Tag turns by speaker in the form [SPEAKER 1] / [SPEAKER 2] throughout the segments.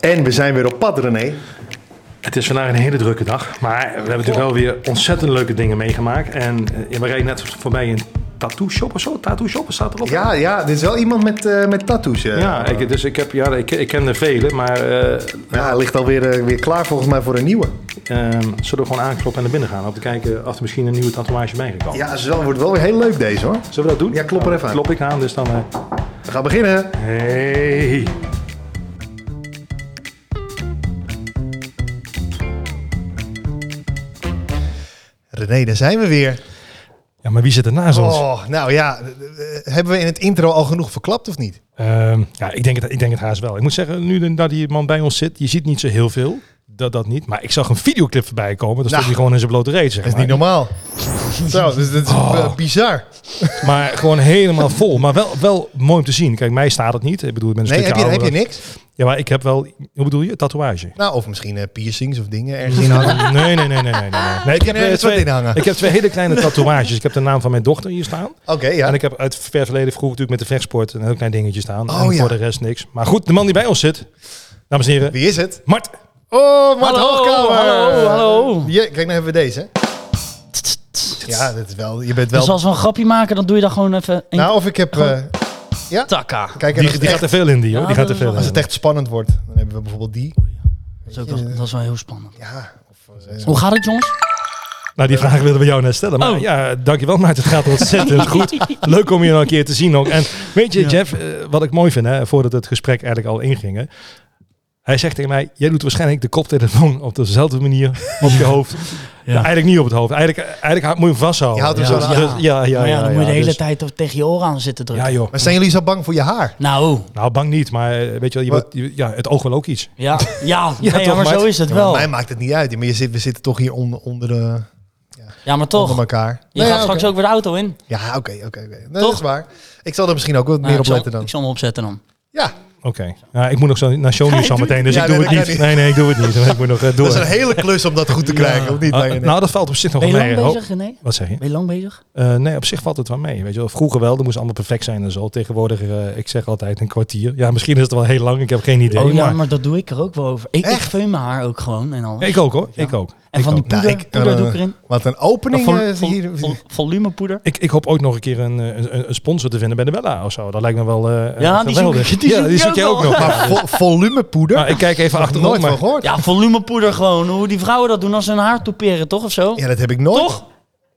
[SPEAKER 1] En we zijn weer op pad, René.
[SPEAKER 2] Het is vandaag een hele drukke dag, maar we hebben natuurlijk wel weer ontzettend leuke dingen meegemaakt. En eh, we reden net voorbij een tattoo shop of zo. Tattoo shop staat erop.
[SPEAKER 1] Ja, ja, dit is wel iemand met, eh met tattoos. eh.
[SPEAKER 2] Ja, ik, dus ik, heb, ja, ik, ik ken er vele, maar eh,
[SPEAKER 1] Ja, hij ligt alweer eh, weer klaar volgens mij voor een nieuwe.
[SPEAKER 2] ehm, zullen we gewoon aankloppen en naar binnen gaan? Om te kijken of er misschien een nieuwe tatoeage bij kan.
[SPEAKER 1] Ja, het wordt wel weer heel leuk deze hoor.
[SPEAKER 2] Zullen we dat doen?
[SPEAKER 1] Ja, klop er even aan.
[SPEAKER 2] Klop ik aan, dus dan... eh,
[SPEAKER 1] We gaan beginnen.
[SPEAKER 2] hey.
[SPEAKER 1] René, daar zijn we weer.
[SPEAKER 2] Ja, maar wie zit er naast ons?
[SPEAKER 1] Oh, nou ja, eh, hebben we in het intro al genoeg verklapt of niet?
[SPEAKER 2] Ehm, ja, ik denk, het, ik denk het haast wel. Ik moet zeggen, nu dat die man bij ons zit, je ziet niet zo heel veel. Dat, dat niet. Maar ik zag een videoclip voorbij komen. Dan stond
[SPEAKER 1] Nou.
[SPEAKER 2] hij gewoon in zijn blote reet, zeg
[SPEAKER 1] Dat is
[SPEAKER 2] maar.
[SPEAKER 1] niet normaal. Zo, dus dat is
[SPEAKER 2] Oh.
[SPEAKER 1] eh, bizar.
[SPEAKER 2] Maar gewoon helemaal vol. Maar wel, wel mooi om te zien. Kijk, mij staat het niet. Ik bedoel, ik ben een
[SPEAKER 1] Nee, heb
[SPEAKER 2] stukje
[SPEAKER 1] je, heb je
[SPEAKER 2] ouder.
[SPEAKER 1] niks?
[SPEAKER 2] Ja, maar ik heb wel... Hoe bedoel je? Tatoeage?
[SPEAKER 1] Nou, of misschien eh, piercings of dingen ergens in hangen.
[SPEAKER 2] Nee, nee, nee, nee. nee, nee. nee ik, heb,
[SPEAKER 1] Nee,
[SPEAKER 2] eh,
[SPEAKER 1] dat wordt
[SPEAKER 2] twee,
[SPEAKER 1] inhangen.
[SPEAKER 2] ik heb twee hele kleine tatoeages. Ik heb de naam van mijn dochter hier staan.
[SPEAKER 1] Oké, ja.
[SPEAKER 2] En ik heb uit ver verleden vroeger natuurlijk met de vechtsport een heel klein dingetje staan.
[SPEAKER 1] Oh,
[SPEAKER 2] en
[SPEAKER 1] ja.
[SPEAKER 2] voor de rest niks. Maar goed, de man die bij ons zit, dames en heren,
[SPEAKER 1] Wie is het?
[SPEAKER 2] Mart.
[SPEAKER 1] Oh, Mart
[SPEAKER 3] Hallo,
[SPEAKER 1] Hoogkamer.
[SPEAKER 3] hallo, hallo.
[SPEAKER 1] Ja, kijk, nou hebben we deze.
[SPEAKER 3] Ja,
[SPEAKER 1] Ja, dat is wel, je bent wel...
[SPEAKER 3] dus als we een grapje maken, dan doe je dat gewoon even een
[SPEAKER 1] Nou, of ik heb... eh,
[SPEAKER 3] takka.
[SPEAKER 1] kijk, en
[SPEAKER 2] Die,
[SPEAKER 1] als
[SPEAKER 2] die
[SPEAKER 1] het
[SPEAKER 2] gaat er veel in, die hoor.
[SPEAKER 3] Ja,
[SPEAKER 2] die gaat er
[SPEAKER 3] dat
[SPEAKER 2] veel
[SPEAKER 3] is
[SPEAKER 1] Als
[SPEAKER 2] in.
[SPEAKER 1] het echt spannend wordt, dan hebben we bijvoorbeeld die.
[SPEAKER 3] Dat is, ook wel, dat is wel heel spannend.
[SPEAKER 1] Ja, of, eh,
[SPEAKER 3] Hoe gaat het, jongens?
[SPEAKER 2] Nou, die vraag wilden we jou net stellen. Maar
[SPEAKER 3] Oh.
[SPEAKER 2] ja, dankjewel Maarten. Het gaat ontzettend goed. Leuk om je nog een keer te zien ook. En weet je,
[SPEAKER 3] Ja.
[SPEAKER 2] Jeff, eh, wat ik mooi vind, hè, voordat het gesprek eigenlijk al inging. hè. hij zegt tegen mij, jij doet waarschijnlijk de koptelefoon op dezelfde manier op je hoofd. Nou, eigenlijk niet op het hoofd. Eigenlijk, eigenlijk hou- moet je hem vasthouden.
[SPEAKER 1] Je houdt hem
[SPEAKER 2] Dus-
[SPEAKER 1] zo
[SPEAKER 2] dus- ja,
[SPEAKER 3] aan.
[SPEAKER 2] ja,
[SPEAKER 3] maar Nou ja,
[SPEAKER 2] ja, ja,
[SPEAKER 3] dan moet je de hele
[SPEAKER 2] dus-
[SPEAKER 3] tijd toch tegen je oren aan zitten drukken.
[SPEAKER 2] Ja joh.
[SPEAKER 1] Maar zijn jullie zo bang voor je haar?
[SPEAKER 3] Nou,
[SPEAKER 2] Nou, bang niet. Maar eh, weet je wel, je wordt, je- ja, het oog wil ook iets.
[SPEAKER 3] ja, ja, nee,
[SPEAKER 2] toch,
[SPEAKER 3] ja, maar zo
[SPEAKER 2] Mart?
[SPEAKER 3] is het
[SPEAKER 1] Ja,
[SPEAKER 3] wel.
[SPEAKER 1] maar Mij maakt het niet uit, maar je zit, we zitten toch hier onder, onder, de,
[SPEAKER 3] Ja, maar
[SPEAKER 1] onder
[SPEAKER 3] toch.
[SPEAKER 1] elkaar.
[SPEAKER 3] Je
[SPEAKER 1] Nou
[SPEAKER 3] gaat
[SPEAKER 1] ja,
[SPEAKER 3] straks
[SPEAKER 1] oké.
[SPEAKER 3] ook weer de auto in.
[SPEAKER 1] Ja, oké, oké. oké. Nee,
[SPEAKER 3] Toch?
[SPEAKER 1] Dat is waar. Ik zal er misschien ook wat
[SPEAKER 3] Nou,
[SPEAKER 1] meer op
[SPEAKER 3] ik zal-
[SPEAKER 1] letten dan.
[SPEAKER 3] Ik zal hem opzetten dan.
[SPEAKER 1] Ja,
[SPEAKER 2] Oké. Ja, ik moet nog zo naar shownieuws zo meteen, dus
[SPEAKER 1] Ja,
[SPEAKER 2] ik doe
[SPEAKER 1] nee,
[SPEAKER 2] het
[SPEAKER 1] dat
[SPEAKER 2] niet.
[SPEAKER 1] kan
[SPEAKER 2] Nee, nee, ik doe het niet. Ik moet nog eh, door.
[SPEAKER 1] dat is een hele klus om dat goed te krijgen, of niet?
[SPEAKER 2] Ah,
[SPEAKER 1] Nee, nee.
[SPEAKER 2] Nou, dat valt op zich nog
[SPEAKER 3] Ben je
[SPEAKER 2] wel
[SPEAKER 3] lang
[SPEAKER 2] mee.
[SPEAKER 3] bezig, René?
[SPEAKER 2] Wat zeg je?
[SPEAKER 3] Ben je lang bezig?
[SPEAKER 2] Eh, nee, op zich valt het wel mee. Weet je wel. Vroeger wel, dat moest allemaal perfect zijn en zo. Tegenwoordig, eh, ik zeg altijd een kwartier. Ja, misschien is het wel heel lang, ik heb geen idee.
[SPEAKER 3] oh ja,
[SPEAKER 2] maar-
[SPEAKER 3] maar dat doe ik er ook wel over. Ik, ik
[SPEAKER 1] Echt?
[SPEAKER 3] veun mijn haar ook gewoon en alles.
[SPEAKER 2] Ik ook hoor, ik ook.
[SPEAKER 3] en van
[SPEAKER 2] ik
[SPEAKER 3] die
[SPEAKER 2] ook.
[SPEAKER 3] poeder,
[SPEAKER 1] Nou, ik-
[SPEAKER 3] poeder
[SPEAKER 1] eh,
[SPEAKER 3] doe ik erin.
[SPEAKER 1] Wat een opening
[SPEAKER 3] vol,
[SPEAKER 1] eh,
[SPEAKER 3] vol-
[SPEAKER 1] hier.
[SPEAKER 3] vol- volumepoeder.
[SPEAKER 2] Ik, ik hoop ooit nog een keer een, eh, een, een sponsor te vinden bij de Bella of zo. Dat lijkt me wel eh
[SPEAKER 3] Ja, die zoek
[SPEAKER 2] geweldig.
[SPEAKER 3] ik- die
[SPEAKER 2] ja,
[SPEAKER 3] zoek
[SPEAKER 2] die
[SPEAKER 3] ik
[SPEAKER 2] zoek je
[SPEAKER 3] ook
[SPEAKER 2] ook
[SPEAKER 3] wel.
[SPEAKER 2] nog.
[SPEAKER 1] Maar vo- volumepoeder?
[SPEAKER 2] Nou, ik kijk even
[SPEAKER 1] Nog
[SPEAKER 2] achterom.
[SPEAKER 1] nooit van
[SPEAKER 2] Maar,
[SPEAKER 1] gehoord.
[SPEAKER 3] Ah, Ja, volumepoeder gewoon. Hoe die vrouwen dat doen als ze hun haar toeperen, toch? Of zo?
[SPEAKER 1] Ja, dat heb ik nooit.
[SPEAKER 3] Toch?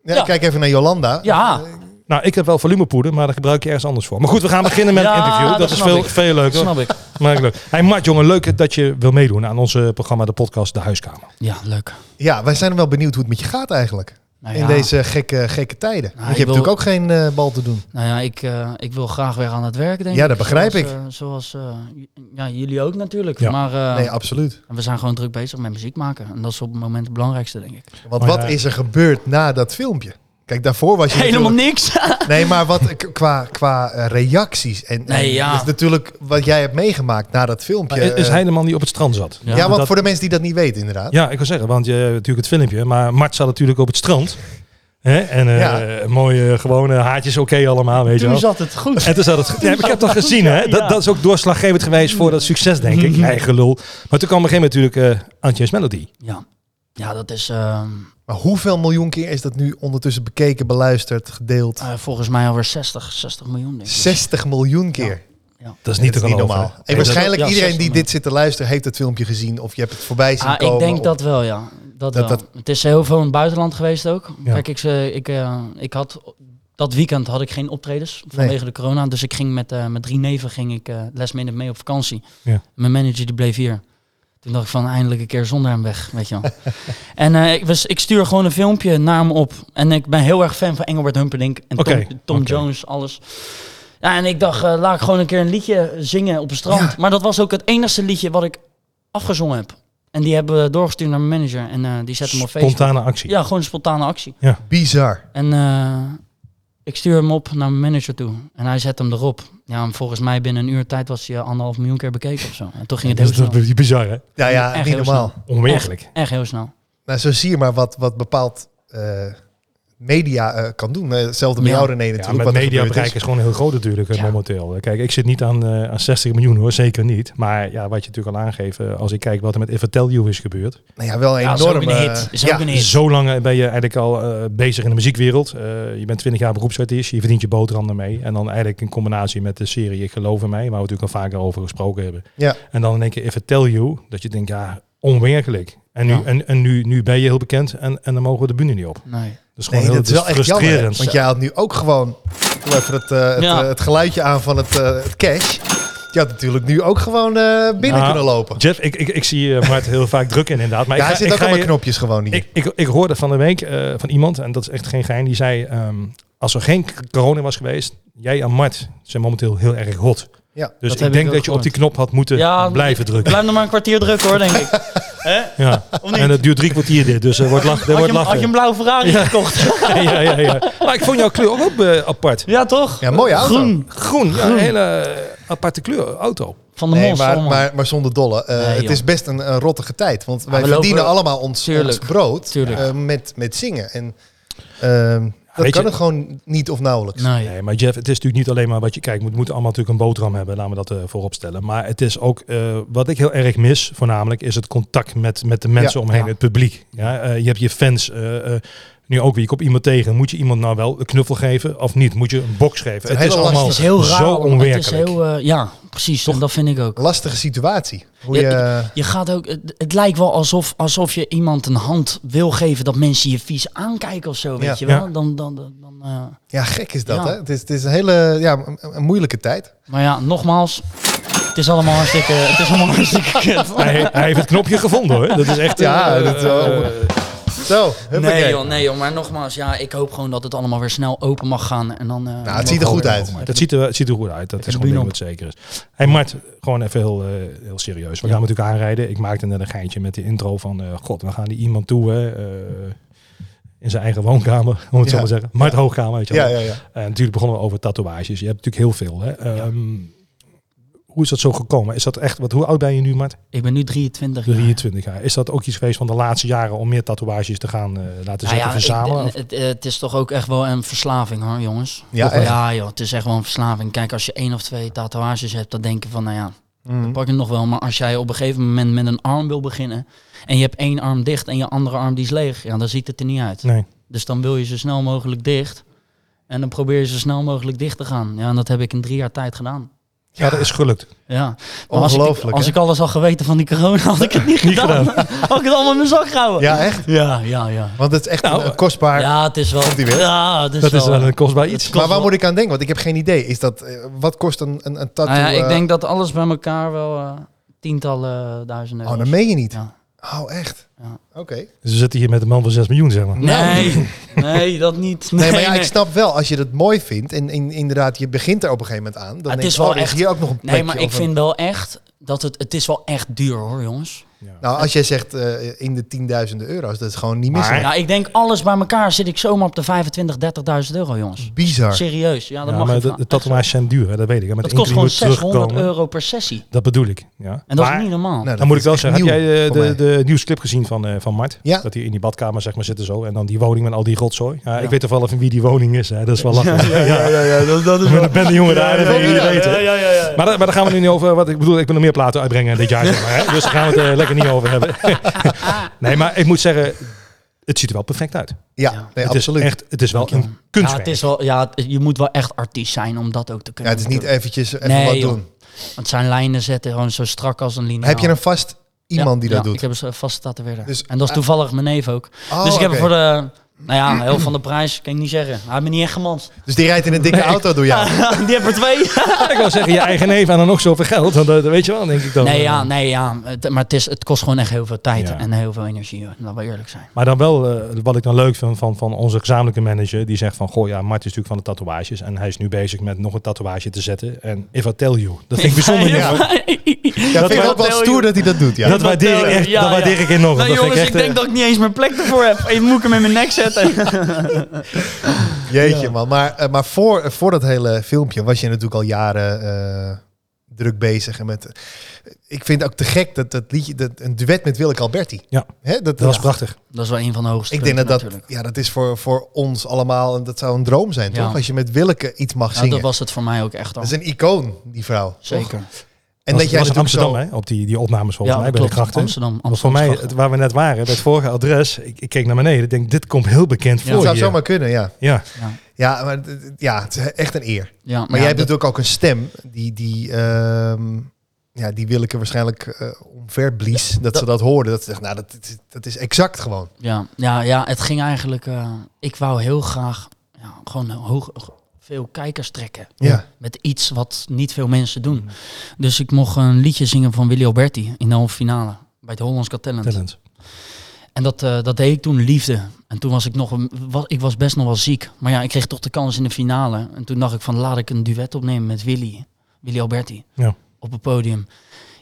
[SPEAKER 1] Ja,
[SPEAKER 3] Ja.
[SPEAKER 1] Kijk even naar Jolanda.
[SPEAKER 3] Ja.
[SPEAKER 2] nou, ik heb wel volumepoeder, maar dat gebruik je ergens anders voor. Maar goed, we gaan beginnen met
[SPEAKER 3] Ja,
[SPEAKER 2] het interview. Dat,
[SPEAKER 3] dat
[SPEAKER 2] is
[SPEAKER 3] snap
[SPEAKER 2] veel,
[SPEAKER 3] ik.
[SPEAKER 2] veel leuker.
[SPEAKER 3] Snap ik.
[SPEAKER 2] Maar leuk. Hey Mart, jongen, leuk dat je wil meedoen aan onze programma, de podcast De Huiskamer.
[SPEAKER 3] Ja, leuk.
[SPEAKER 1] Ja, wij zijn wel benieuwd hoe het met je gaat eigenlijk.
[SPEAKER 3] Nou
[SPEAKER 1] In
[SPEAKER 3] ja.
[SPEAKER 1] deze gekke, gekke tijden.
[SPEAKER 3] Nou,
[SPEAKER 1] Want
[SPEAKER 3] ik
[SPEAKER 1] je hebt
[SPEAKER 3] wil-
[SPEAKER 1] natuurlijk ook geen eh, bal te doen.
[SPEAKER 3] Nou ja, ik, eh, ik wil graag weer aan het werk, denk ik.
[SPEAKER 1] Ja, dat begrijp
[SPEAKER 3] zoals,
[SPEAKER 1] ik.
[SPEAKER 3] eh, zoals eh, j- ja, jullie ook natuurlijk.
[SPEAKER 2] Ja.
[SPEAKER 3] Maar eh,
[SPEAKER 1] Nee, absoluut.
[SPEAKER 3] we zijn gewoon druk bezig met muziek maken. En dat is op het moment het belangrijkste, denk ik.
[SPEAKER 1] Want
[SPEAKER 2] Maar
[SPEAKER 1] wat
[SPEAKER 2] ja.
[SPEAKER 1] is er gebeurd na dat filmpje? Kijk, daarvoor was je
[SPEAKER 3] Helemaal
[SPEAKER 1] natuurlijk-
[SPEAKER 3] niks.
[SPEAKER 1] Nee, maar wat, k- qua, qua eh, reacties en, en
[SPEAKER 3] Nee, ja.
[SPEAKER 1] dat is natuurlijk wat jij hebt meegemaakt na dat filmpje.
[SPEAKER 2] Is, is
[SPEAKER 1] eh,
[SPEAKER 2] hij de man die op het strand zat?
[SPEAKER 1] ja,
[SPEAKER 3] Ja,
[SPEAKER 1] want
[SPEAKER 2] dat-
[SPEAKER 1] voor de mensen die dat niet weten inderdaad.
[SPEAKER 2] Ja, ik wil zeggen, want je hebt natuurlijk het filmpje, maar Mart zat natuurlijk op het strand. Hè? En eh,
[SPEAKER 1] Ja.
[SPEAKER 2] mooie gewone haartjes, oké allemaal, weet je
[SPEAKER 3] Toen
[SPEAKER 2] wel.
[SPEAKER 3] zat het goed.
[SPEAKER 2] En toen zat het. Ja, maar ik heb dat gezien, hè? Dat, dat is ook doorslaggevend geweest voor dat succes, denk ik. Eigen lul. Maar toen kwam op een gegeven moment natuurlijk eh Antje's Melody.
[SPEAKER 3] Ja, ja dat is ehm,
[SPEAKER 1] Maar hoeveel miljoen keer is dat nu ondertussen bekeken, beluisterd, gedeeld?
[SPEAKER 3] eh, volgens mij alweer 60, 60 miljoen, denk ik.
[SPEAKER 1] 60 miljoen keer.
[SPEAKER 2] Dat is niet,
[SPEAKER 1] dat
[SPEAKER 2] te
[SPEAKER 1] is niet
[SPEAKER 2] geloven.
[SPEAKER 1] normaal. En
[SPEAKER 2] Nee, dat-
[SPEAKER 1] waarschijnlijk
[SPEAKER 3] ja,
[SPEAKER 1] iedereen die
[SPEAKER 3] 60
[SPEAKER 1] dit zit te luisteren heeft het filmpje gezien of je hebt het voorbij zien
[SPEAKER 3] Ah,
[SPEAKER 1] komen.
[SPEAKER 3] ik denk
[SPEAKER 1] of-
[SPEAKER 3] dat wel, ja. Dat
[SPEAKER 1] Dat-
[SPEAKER 3] wel.
[SPEAKER 1] dat-
[SPEAKER 3] Het is heel veel in het buitenland geweest ook.
[SPEAKER 2] Ja.
[SPEAKER 3] Kijk, ik, eh, ik, eh, ik had, dat weekend had ik geen optredens vanwege de corona. Dus ik ging met, eh met drie neven ging ik, eh last minute mee op vakantie.
[SPEAKER 2] Ja.
[SPEAKER 3] Mijn manager die bleef hier. Toen dacht ik van eindelijk een keer zonder hem weg, weet je wel. en eh, ik, was, ik stuur gewoon een filmpje naar hem op. En ik ben heel erg fan van Engelbert Humperdinck en
[SPEAKER 2] Oké,
[SPEAKER 3] Tom, Tom
[SPEAKER 2] oké.
[SPEAKER 3] Jones, alles. Ja, en ik dacht, eh, laat ik gewoon een keer een liedje zingen op het strand.
[SPEAKER 1] Ja.
[SPEAKER 3] Maar dat was ook het enigste liedje wat ik afgezongen heb. En die hebben we doorgestuurd naar mijn manager. En eh, die zet hem op Facebook.
[SPEAKER 2] Spontane actie.
[SPEAKER 3] Ja, gewoon een spontane actie.
[SPEAKER 1] Bizar.
[SPEAKER 3] En eh, ik stuur hem op naar mijn manager toe. En hij zet hem erop. Ja, en volgens mij binnen een uur tijd was hij eh, anderhalf miljoen keer bekeken of zo. En toen ging het
[SPEAKER 2] dus Dat is
[SPEAKER 3] heel snel.
[SPEAKER 2] dat is bizar, hè?
[SPEAKER 1] Ja, ja,
[SPEAKER 3] Echt
[SPEAKER 1] niet
[SPEAKER 3] heel
[SPEAKER 1] normaal.
[SPEAKER 3] snel.
[SPEAKER 2] Onwerkelijk.
[SPEAKER 3] Echt heel snel.
[SPEAKER 1] Nou, zo zie je maar wat, wat bepaalt eh, media eh, kan doen. Eh, Hetzelfde met
[SPEAKER 3] Ja.
[SPEAKER 1] jou René
[SPEAKER 2] Ja,
[SPEAKER 1] natuurlijk.
[SPEAKER 2] maar
[SPEAKER 1] wat
[SPEAKER 2] het
[SPEAKER 1] er gebeurd
[SPEAKER 2] mediabereik
[SPEAKER 1] is.
[SPEAKER 2] is gewoon heel groot natuurlijk eh,
[SPEAKER 3] Ja.
[SPEAKER 2] momenteel. Kijk, ik zit niet aan, eh, aan 60 miljoen hoor, zeker niet. Maar ja, wat je natuurlijk al aangeeft, eh, als ik kijk wat er met If I Tell You is gebeurd.
[SPEAKER 1] Nou ja, wel een
[SPEAKER 3] Ja, is ook
[SPEAKER 1] enorme...
[SPEAKER 3] een hit. Is ook
[SPEAKER 1] ja.
[SPEAKER 3] een hit.
[SPEAKER 2] Zo lang eh, ben je eigenlijk al eh, bezig in de muziekwereld. Eh, je bent 20 jaar beroepsartiest, je verdient je boterham ermee. En dan eigenlijk in combinatie met de serie Ik geloof in mij, waar we natuurlijk al vaker over gesproken hebben.
[SPEAKER 1] Ja.
[SPEAKER 2] En dan in één keer If I Tell You, dat je denkt, ja, onwerkelijk. En nu,
[SPEAKER 3] Ja.
[SPEAKER 2] en, en nu, nu ben je heel bekend en, en dan mogen we de bühne niet op.
[SPEAKER 3] Nee.
[SPEAKER 2] Dat is gewoon
[SPEAKER 1] Nee,
[SPEAKER 2] heel
[SPEAKER 1] dat is wel echt
[SPEAKER 2] frustrerend.
[SPEAKER 1] jammer. hè? Want jij had nu ook gewoon... Doe even het, eh, het,
[SPEAKER 3] Ja.
[SPEAKER 1] eh, het geluidje aan van het, eh, het cash. Je had natuurlijk nu ook gewoon eh, binnen
[SPEAKER 2] Nou,
[SPEAKER 1] kunnen lopen.
[SPEAKER 2] Jeff, ik, ik, ik zie eh, Mart heel vaak druk in inderdaad. Maar
[SPEAKER 1] Ja,
[SPEAKER 2] ik
[SPEAKER 1] hij
[SPEAKER 2] ga-
[SPEAKER 1] zit
[SPEAKER 2] ik
[SPEAKER 1] ook
[SPEAKER 2] ga
[SPEAKER 1] aan mijn
[SPEAKER 2] je-
[SPEAKER 1] knopjes gewoon hier.
[SPEAKER 2] Ik, ik, ik hoorde van de week eh, van iemand, en dat is echt geen gein, die zei... ehm, als er geen k- corona was geweest, jij en Mart zijn momenteel heel erg hot.
[SPEAKER 1] Ja,
[SPEAKER 2] Dus
[SPEAKER 3] dat
[SPEAKER 2] ik
[SPEAKER 3] heb
[SPEAKER 2] denk
[SPEAKER 3] ik
[SPEAKER 2] dat
[SPEAKER 3] ook
[SPEAKER 2] je op die knop had moeten
[SPEAKER 3] Ja,
[SPEAKER 2] blijven drukken.
[SPEAKER 3] Blijf nog maar een kwartier druk hoor, denk ik. Hè?
[SPEAKER 2] Ja.
[SPEAKER 3] Of niet?
[SPEAKER 2] En het duurt drie kwartier dit, dus er wordt, lach, er
[SPEAKER 3] Oh, had,
[SPEAKER 2] wordt
[SPEAKER 3] je, hem- had je een
[SPEAKER 2] lachen.
[SPEAKER 3] blauwe Ferrari
[SPEAKER 2] Ja.
[SPEAKER 3] gekocht?
[SPEAKER 2] ja, ja, ja. Maar ik vond jouw kleur ook eh, apart.
[SPEAKER 3] Ja, toch?
[SPEAKER 1] Ja, mooie auto.
[SPEAKER 3] Groen.
[SPEAKER 2] Groen, ja, een hele eh, aparte kleur, auto.
[SPEAKER 3] Van de
[SPEAKER 1] Nee,
[SPEAKER 3] mos.
[SPEAKER 1] maar,
[SPEAKER 3] allemaal.
[SPEAKER 1] maar, maar zonder dolle. Eh,
[SPEAKER 3] Nee,
[SPEAKER 1] het
[SPEAKER 3] joh.
[SPEAKER 1] is best een, een rottige tijd. Want wij
[SPEAKER 3] we
[SPEAKER 1] verdienen
[SPEAKER 3] lopen-
[SPEAKER 1] allemaal ons,
[SPEAKER 3] Tuurlijk.
[SPEAKER 1] ons brood
[SPEAKER 3] Tuurlijk.
[SPEAKER 1] eh, met, met zingen. En ehm, dat
[SPEAKER 2] weet
[SPEAKER 1] kan
[SPEAKER 2] je-
[SPEAKER 1] er gewoon niet of nauwelijks.
[SPEAKER 3] Nee.
[SPEAKER 2] Nee, maar Jeff, het is natuurlijk niet alleen maar wat je kijkt. We moeten allemaal natuurlijk een boterham hebben, laten we dat eh, voorop stellen. Maar het is ook, eh, wat ik heel erg mis voornamelijk, is het contact met, met de mensen omheen,
[SPEAKER 3] Ja.
[SPEAKER 2] het publiek. Ja, eh, je hebt je fans, eh, eh, nu ook weer, je komt iemand tegen. Moet je iemand nou wel een knuffel geven of niet? Moet je een box geven?
[SPEAKER 1] een
[SPEAKER 2] Het is
[SPEAKER 1] hele
[SPEAKER 2] allemaal
[SPEAKER 3] Het is heel raar.
[SPEAKER 2] zo
[SPEAKER 3] allemaal.
[SPEAKER 2] onwerkelijk.
[SPEAKER 3] Het is heel, eh, ja, precies.
[SPEAKER 2] Toch?
[SPEAKER 3] En dat vind ik ook.
[SPEAKER 1] Lastige situatie. Hoe
[SPEAKER 3] Ja,
[SPEAKER 1] je,
[SPEAKER 3] Je gaat ook, het, het lijkt wel alsof, alsof je iemand een hand wil geven dat mensen je vies aankijken of zo, weet
[SPEAKER 1] Ja.
[SPEAKER 3] je wel.
[SPEAKER 2] Ja.
[SPEAKER 3] Dan, dan, dan, dan, eh.
[SPEAKER 1] ja, gek is dat.
[SPEAKER 3] Ja.
[SPEAKER 1] Hè? Het, is, het is een hele ja, een, een moeilijke tijd.
[SPEAKER 3] Maar ja, nogmaals, het is allemaal hartstikke, het is allemaal hartstikke kut.
[SPEAKER 2] Hij, hij heeft het knopje gevonden hoor. Dat is echt.
[SPEAKER 1] Ja,
[SPEAKER 2] eh,
[SPEAKER 1] dat wel.
[SPEAKER 2] eh,
[SPEAKER 1] Zo, huppakee.
[SPEAKER 3] Nee joh, nee joh, maar nogmaals, ja, ik hoop gewoon dat het allemaal weer snel open mag gaan. En dan, eh,
[SPEAKER 1] Nou, het ziet er goed uit.
[SPEAKER 2] dat ziet er, het ziet er goed uit. Dat
[SPEAKER 3] Even
[SPEAKER 2] is
[SPEAKER 3] de
[SPEAKER 2] gewoon
[SPEAKER 3] bühne
[SPEAKER 2] wat zeker is. Hey Mart, gewoon even heel, eh, heel serieus. We gaan natuurlijk aanrijden. Ik maakte net een geintje met die intro van... eh, God, we gaan die iemand toe hè, eh, in zijn eigen woonkamer, om het
[SPEAKER 1] Ja.
[SPEAKER 2] zo maar te zeggen. Mart Hoogkamer, weet je
[SPEAKER 1] Ja, ja,
[SPEAKER 2] wel.
[SPEAKER 1] ja.
[SPEAKER 2] En natuurlijk begonnen we over tatoeages. Je hebt natuurlijk heel veel. Hè. Ehm, Hoe is dat zo gekomen? Is dat echt, wat, hoe oud ben je nu, Mart?
[SPEAKER 3] Ik ben nu 23 jaar.
[SPEAKER 2] 23 jaar. Is dat ook iets geweest van de laatste jaren om meer tatoeages te gaan eh, laten
[SPEAKER 3] Nou
[SPEAKER 2] zetten,
[SPEAKER 3] ja,
[SPEAKER 2] verzamelen?
[SPEAKER 3] ik- het, het is toch ook echt wel een verslaving hoor, jongens.
[SPEAKER 1] Ja, echt.
[SPEAKER 3] ja joh, het is echt wel een verslaving. Kijk, als je één of twee tatoeages hebt, dan denk je van, nou ja,
[SPEAKER 1] Mm.
[SPEAKER 3] pak je nog wel. Maar als jij op een gegeven moment met een arm wil beginnen en je hebt één arm dicht en je andere arm die is leeg, ja, dan ziet het er niet uit.
[SPEAKER 2] Nee.
[SPEAKER 3] Dus dan wil je zo snel mogelijk dicht. En dan probeer je zo snel mogelijk dicht te gaan. Ja, en dat heb ik in drie jaar tijd gedaan.
[SPEAKER 2] Ja, dat is gelukt.
[SPEAKER 3] Ja. Maar als ik-
[SPEAKER 1] Ongelooflijk.
[SPEAKER 3] Als
[SPEAKER 1] hè?
[SPEAKER 3] ik alles had geweten van die corona, had ik het niet gedaan. had ik het allemaal in mijn zak gehouden.
[SPEAKER 1] Ja, echt.
[SPEAKER 3] ja, ja. ja.
[SPEAKER 1] Want het is echt
[SPEAKER 2] Nou,
[SPEAKER 1] een, een kostbaar...
[SPEAKER 3] ja, het is wel.
[SPEAKER 1] Komt die weer?
[SPEAKER 3] Ja, het is
[SPEAKER 2] Dat is
[SPEAKER 3] wel. eh,
[SPEAKER 2] wel een kostbaar iets.
[SPEAKER 3] het kost
[SPEAKER 1] Maar waar
[SPEAKER 3] wel-
[SPEAKER 1] moet ik aan denken? Want ik heb geen idee. Is dat, eh, wat kost een, een, een tattoo?
[SPEAKER 3] Nou ja, ik
[SPEAKER 1] eh,
[SPEAKER 3] denk dat alles bij elkaar wel eh, tientallen eh, duizenden
[SPEAKER 1] Oh,
[SPEAKER 3] euro's.
[SPEAKER 1] dat meen je niet.
[SPEAKER 3] Ja.
[SPEAKER 1] Oh, echt?
[SPEAKER 3] Ja.
[SPEAKER 1] Oké.
[SPEAKER 2] Dus we zitten hier met een man van 6 miljoen, zeg
[SPEAKER 3] Hm?
[SPEAKER 2] maar.
[SPEAKER 3] Nee, nee, dat niet.
[SPEAKER 1] Nou. Nee, maar ja,
[SPEAKER 3] nee.
[SPEAKER 1] ik snap wel, als je dat mooi vindt en, en inderdaad, je begint er op een gegeven moment aan, dan
[SPEAKER 3] het
[SPEAKER 1] denk
[SPEAKER 3] is
[SPEAKER 1] je,
[SPEAKER 3] wel
[SPEAKER 1] oh, er is
[SPEAKER 3] echt-
[SPEAKER 1] hier ook nog een plekje.
[SPEAKER 3] Nee, maar ik
[SPEAKER 1] of een-
[SPEAKER 3] vind wel echt dat het, het is wel echt duur hoor, jongens.
[SPEAKER 1] Nou, als jij zegt eh, in de tienduizenden euro's, dat is gewoon niet
[SPEAKER 2] Maar-
[SPEAKER 1] misselijk.
[SPEAKER 3] Ja, Nou, ik denk alles bij elkaar zit ik zomaar op de 25, 30.000 euro,
[SPEAKER 1] Mm,
[SPEAKER 3] jongens.
[SPEAKER 1] Bizar.
[SPEAKER 3] Serieus, ja, dat
[SPEAKER 2] Ja,
[SPEAKER 3] mag
[SPEAKER 2] maar
[SPEAKER 3] ik
[SPEAKER 2] de, de tatoeages zijn duur, hè, dat weet ik. hè. Met
[SPEAKER 3] Dat
[SPEAKER 2] één
[SPEAKER 3] kost
[SPEAKER 2] keer
[SPEAKER 3] gewoon
[SPEAKER 2] die moet
[SPEAKER 3] 600
[SPEAKER 2] terugkomen.
[SPEAKER 3] euro per sessie.
[SPEAKER 2] Dat bedoel ik. Ja.
[SPEAKER 3] En dat
[SPEAKER 2] Maar-
[SPEAKER 3] is niet normaal.
[SPEAKER 1] Nou,
[SPEAKER 2] dan moet ik wel
[SPEAKER 1] is echt
[SPEAKER 2] zeggen, heb
[SPEAKER 1] nieuw
[SPEAKER 2] jij eh,
[SPEAKER 1] voor
[SPEAKER 2] de,
[SPEAKER 1] mij.
[SPEAKER 2] de nieuwsclip gezien van, eh, van Mart?
[SPEAKER 1] Ja.
[SPEAKER 2] Dat hij in die badkamer zeg maar, zitten zo. En dan die woning met al die rotzooi. Ja,
[SPEAKER 3] Ja.
[SPEAKER 2] Ik weet toch wel van wie die woning is. Hè? Dat is wel lachen. Ja,
[SPEAKER 1] dat, is
[SPEAKER 2] Maar dat ben de jongen daar, dat wil
[SPEAKER 1] ja,
[SPEAKER 2] jullie
[SPEAKER 1] ja,
[SPEAKER 2] weten. Maar, daar- maar daar gaan we nu niet over. Wat ik bedoel, ik wil nog meer platen uitbrengen dit jaar. Zeg maar, hè? Dus daar gaan we het eh, lekker niet over hebben. nee, maar ik moet zeggen, het ziet er wel perfect uit.
[SPEAKER 1] Ja, nee,
[SPEAKER 2] het, is
[SPEAKER 1] absoluut.
[SPEAKER 2] echt, het is wel
[SPEAKER 3] Dankjewel.
[SPEAKER 2] een
[SPEAKER 3] Ja,
[SPEAKER 2] kunstwerk.
[SPEAKER 3] het is wel, ja, het- je moet wel echt artiest zijn om dat ook te
[SPEAKER 1] Ja,
[SPEAKER 3] kunnen.
[SPEAKER 1] het is niet
[SPEAKER 3] natuurlijk.
[SPEAKER 1] eventjes even
[SPEAKER 3] Nee,
[SPEAKER 1] wat
[SPEAKER 3] joh.
[SPEAKER 1] doen.
[SPEAKER 3] Want zijn lijnen zetten gewoon zo strak als een liniaal.
[SPEAKER 1] Heb je een vast iemand die
[SPEAKER 3] Ja,
[SPEAKER 1] dat
[SPEAKER 3] ja,
[SPEAKER 1] doet?
[SPEAKER 3] Ik heb een vaste tatoeëerder.
[SPEAKER 1] Dus-
[SPEAKER 3] en dat is toevallig mijn neef ook.
[SPEAKER 1] Oh,
[SPEAKER 3] dus ik heb
[SPEAKER 1] oké.
[SPEAKER 3] hem voor de, nou ja, heel van de prijs, kan ik niet zeggen. Hij heeft me niet echt gemans.
[SPEAKER 1] Dus die rijdt in een dikke auto door jou.
[SPEAKER 3] Die heeft er twee.
[SPEAKER 2] Ik wil zeggen, je eigen neef en dan nog zoveel geld. Want dat dat weet je wel, denk ik dan. eh,
[SPEAKER 3] Nee, ja, nee, ja. Het- maar het, is, het kost gewoon echt heel veel tijd
[SPEAKER 2] Ja.
[SPEAKER 3] en heel veel energie. hoor. Laten we eerlijk zijn.
[SPEAKER 2] Maar dan wel, eh, wat ik dan leuk vind van, van onze gezamenlijke manager. Die zegt van, goh ja, Mart is natuurlijk van de tatoeages. En hij is nu bezig met nog een tatouage te zetten. En if I tell you. Dat vind ik bijzonder.
[SPEAKER 1] Ja.
[SPEAKER 2] jongen.
[SPEAKER 1] Ja,
[SPEAKER 2] Dat
[SPEAKER 1] vind ik
[SPEAKER 2] wa-
[SPEAKER 1] ook wel stoer dat hij dat doet, ja.
[SPEAKER 2] Dat waardeer ik echt,
[SPEAKER 3] Ja,
[SPEAKER 2] dat
[SPEAKER 3] ja.
[SPEAKER 2] waardeer ik enorm.
[SPEAKER 3] Nou
[SPEAKER 2] dat vind
[SPEAKER 3] jongens, ik
[SPEAKER 2] echt, eh,
[SPEAKER 3] denk dat ik niet eens mijn plek ervoor heb. Ik moet hem in mijn nek zetten.
[SPEAKER 1] Jeetje, man. Maar, eh, maar voor, voor dat hele filmpje was je natuurlijk al jaren eh, druk bezig. En met, eh, ik vind ook te gek dat dat liedje, dat, een duet met Willeke Alberti.
[SPEAKER 2] Ja.
[SPEAKER 1] Hè, dat,
[SPEAKER 2] Dat was
[SPEAKER 1] ja.
[SPEAKER 2] prachtig.
[SPEAKER 3] Dat is wel een van de hoogste
[SPEAKER 1] Ik denk dat dat,
[SPEAKER 3] natuurlijk.
[SPEAKER 1] ja, dat is voor, voor ons allemaal, en dat zou een droom zijn,
[SPEAKER 3] Ja.
[SPEAKER 1] toch? Als je met Willeke iets mag
[SPEAKER 3] Nou,
[SPEAKER 1] zingen.
[SPEAKER 3] dat
[SPEAKER 1] dat,
[SPEAKER 3] was het voor mij ook echt al.
[SPEAKER 1] is een icoon, die vrouw. toch?
[SPEAKER 3] Zeker.
[SPEAKER 1] En
[SPEAKER 2] was,
[SPEAKER 1] dat jij
[SPEAKER 2] was in
[SPEAKER 1] natuurlijk
[SPEAKER 2] Amsterdam,
[SPEAKER 1] zo...
[SPEAKER 2] hè? Op die, die opnames volgens mij bij de
[SPEAKER 3] klopt.
[SPEAKER 2] krachten.
[SPEAKER 3] Amsterdam,
[SPEAKER 2] Want voor
[SPEAKER 3] Amsterdam.
[SPEAKER 2] mij, het, waar we net waren, dat vorige adres, ik, ik keek naar beneden. Ik denk, dit komt heel bekend
[SPEAKER 3] Ja.
[SPEAKER 2] voor
[SPEAKER 1] Het zou
[SPEAKER 2] hier.
[SPEAKER 1] zomaar kunnen, ja.
[SPEAKER 2] Ja,
[SPEAKER 1] Ja, maar d- d- ja, het is echt een eer.
[SPEAKER 3] ja,
[SPEAKER 1] Maar jij hebt
[SPEAKER 3] dat-
[SPEAKER 1] natuurlijk ook een stem die, die, ehm ja, die Willeke waarschijnlijk eh omver blies. dat, ze dat hoorden. Dat ze dacht, nou, dat, dat is exact gewoon.
[SPEAKER 3] ja, ja, ja, het ging eigenlijk... eh, ik wou heel graag ja, gewoon hoog, veel kijkers trekken.
[SPEAKER 1] Ja.
[SPEAKER 3] Met iets wat niet veel mensen doen. Dus ik mocht een liedje zingen van Willy Alberti in de halve finale. Bij het Hollands Got Talent.
[SPEAKER 2] talent.
[SPEAKER 3] En dat, eh, dat deed ik toen liefde. En toen was ik nog een, was, ik was best nog wel ziek. Maar ja, ik kreeg toch de kans in de finale. En toen dacht ik van laat ik een duet opnemen met Willy. Willy Alberti.
[SPEAKER 2] Ja.
[SPEAKER 3] Op het podium.